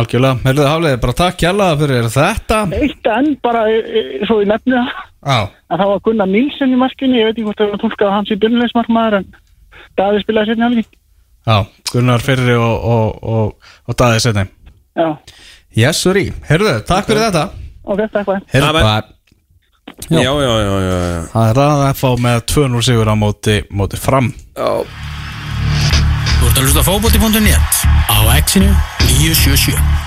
Algjörlega, herruðu hafliði, bara takk kjærlega fyrir þetta
Eitt enn bara, e- e- svo ég nefni það,
Á,
að það var Gunnar Nilsen í markinu, ég veit ekki hvort það var tólkað hans í byrjulegismarkmaður en Daði spilaði sérni helgi.
á, Gunnar Fyrri og, og, og, og Daði Setni
Já,
Jessuri, herruðu, takk fyrir þetta
ok, takk fyrir.
Herruðu,
Amen.
bara Já.
Já, já, já, já, já.
Það er að FH með 2-0 sigur á móti, móti fram
Þú ert að hlusta á fótbolti.net á X-inu 977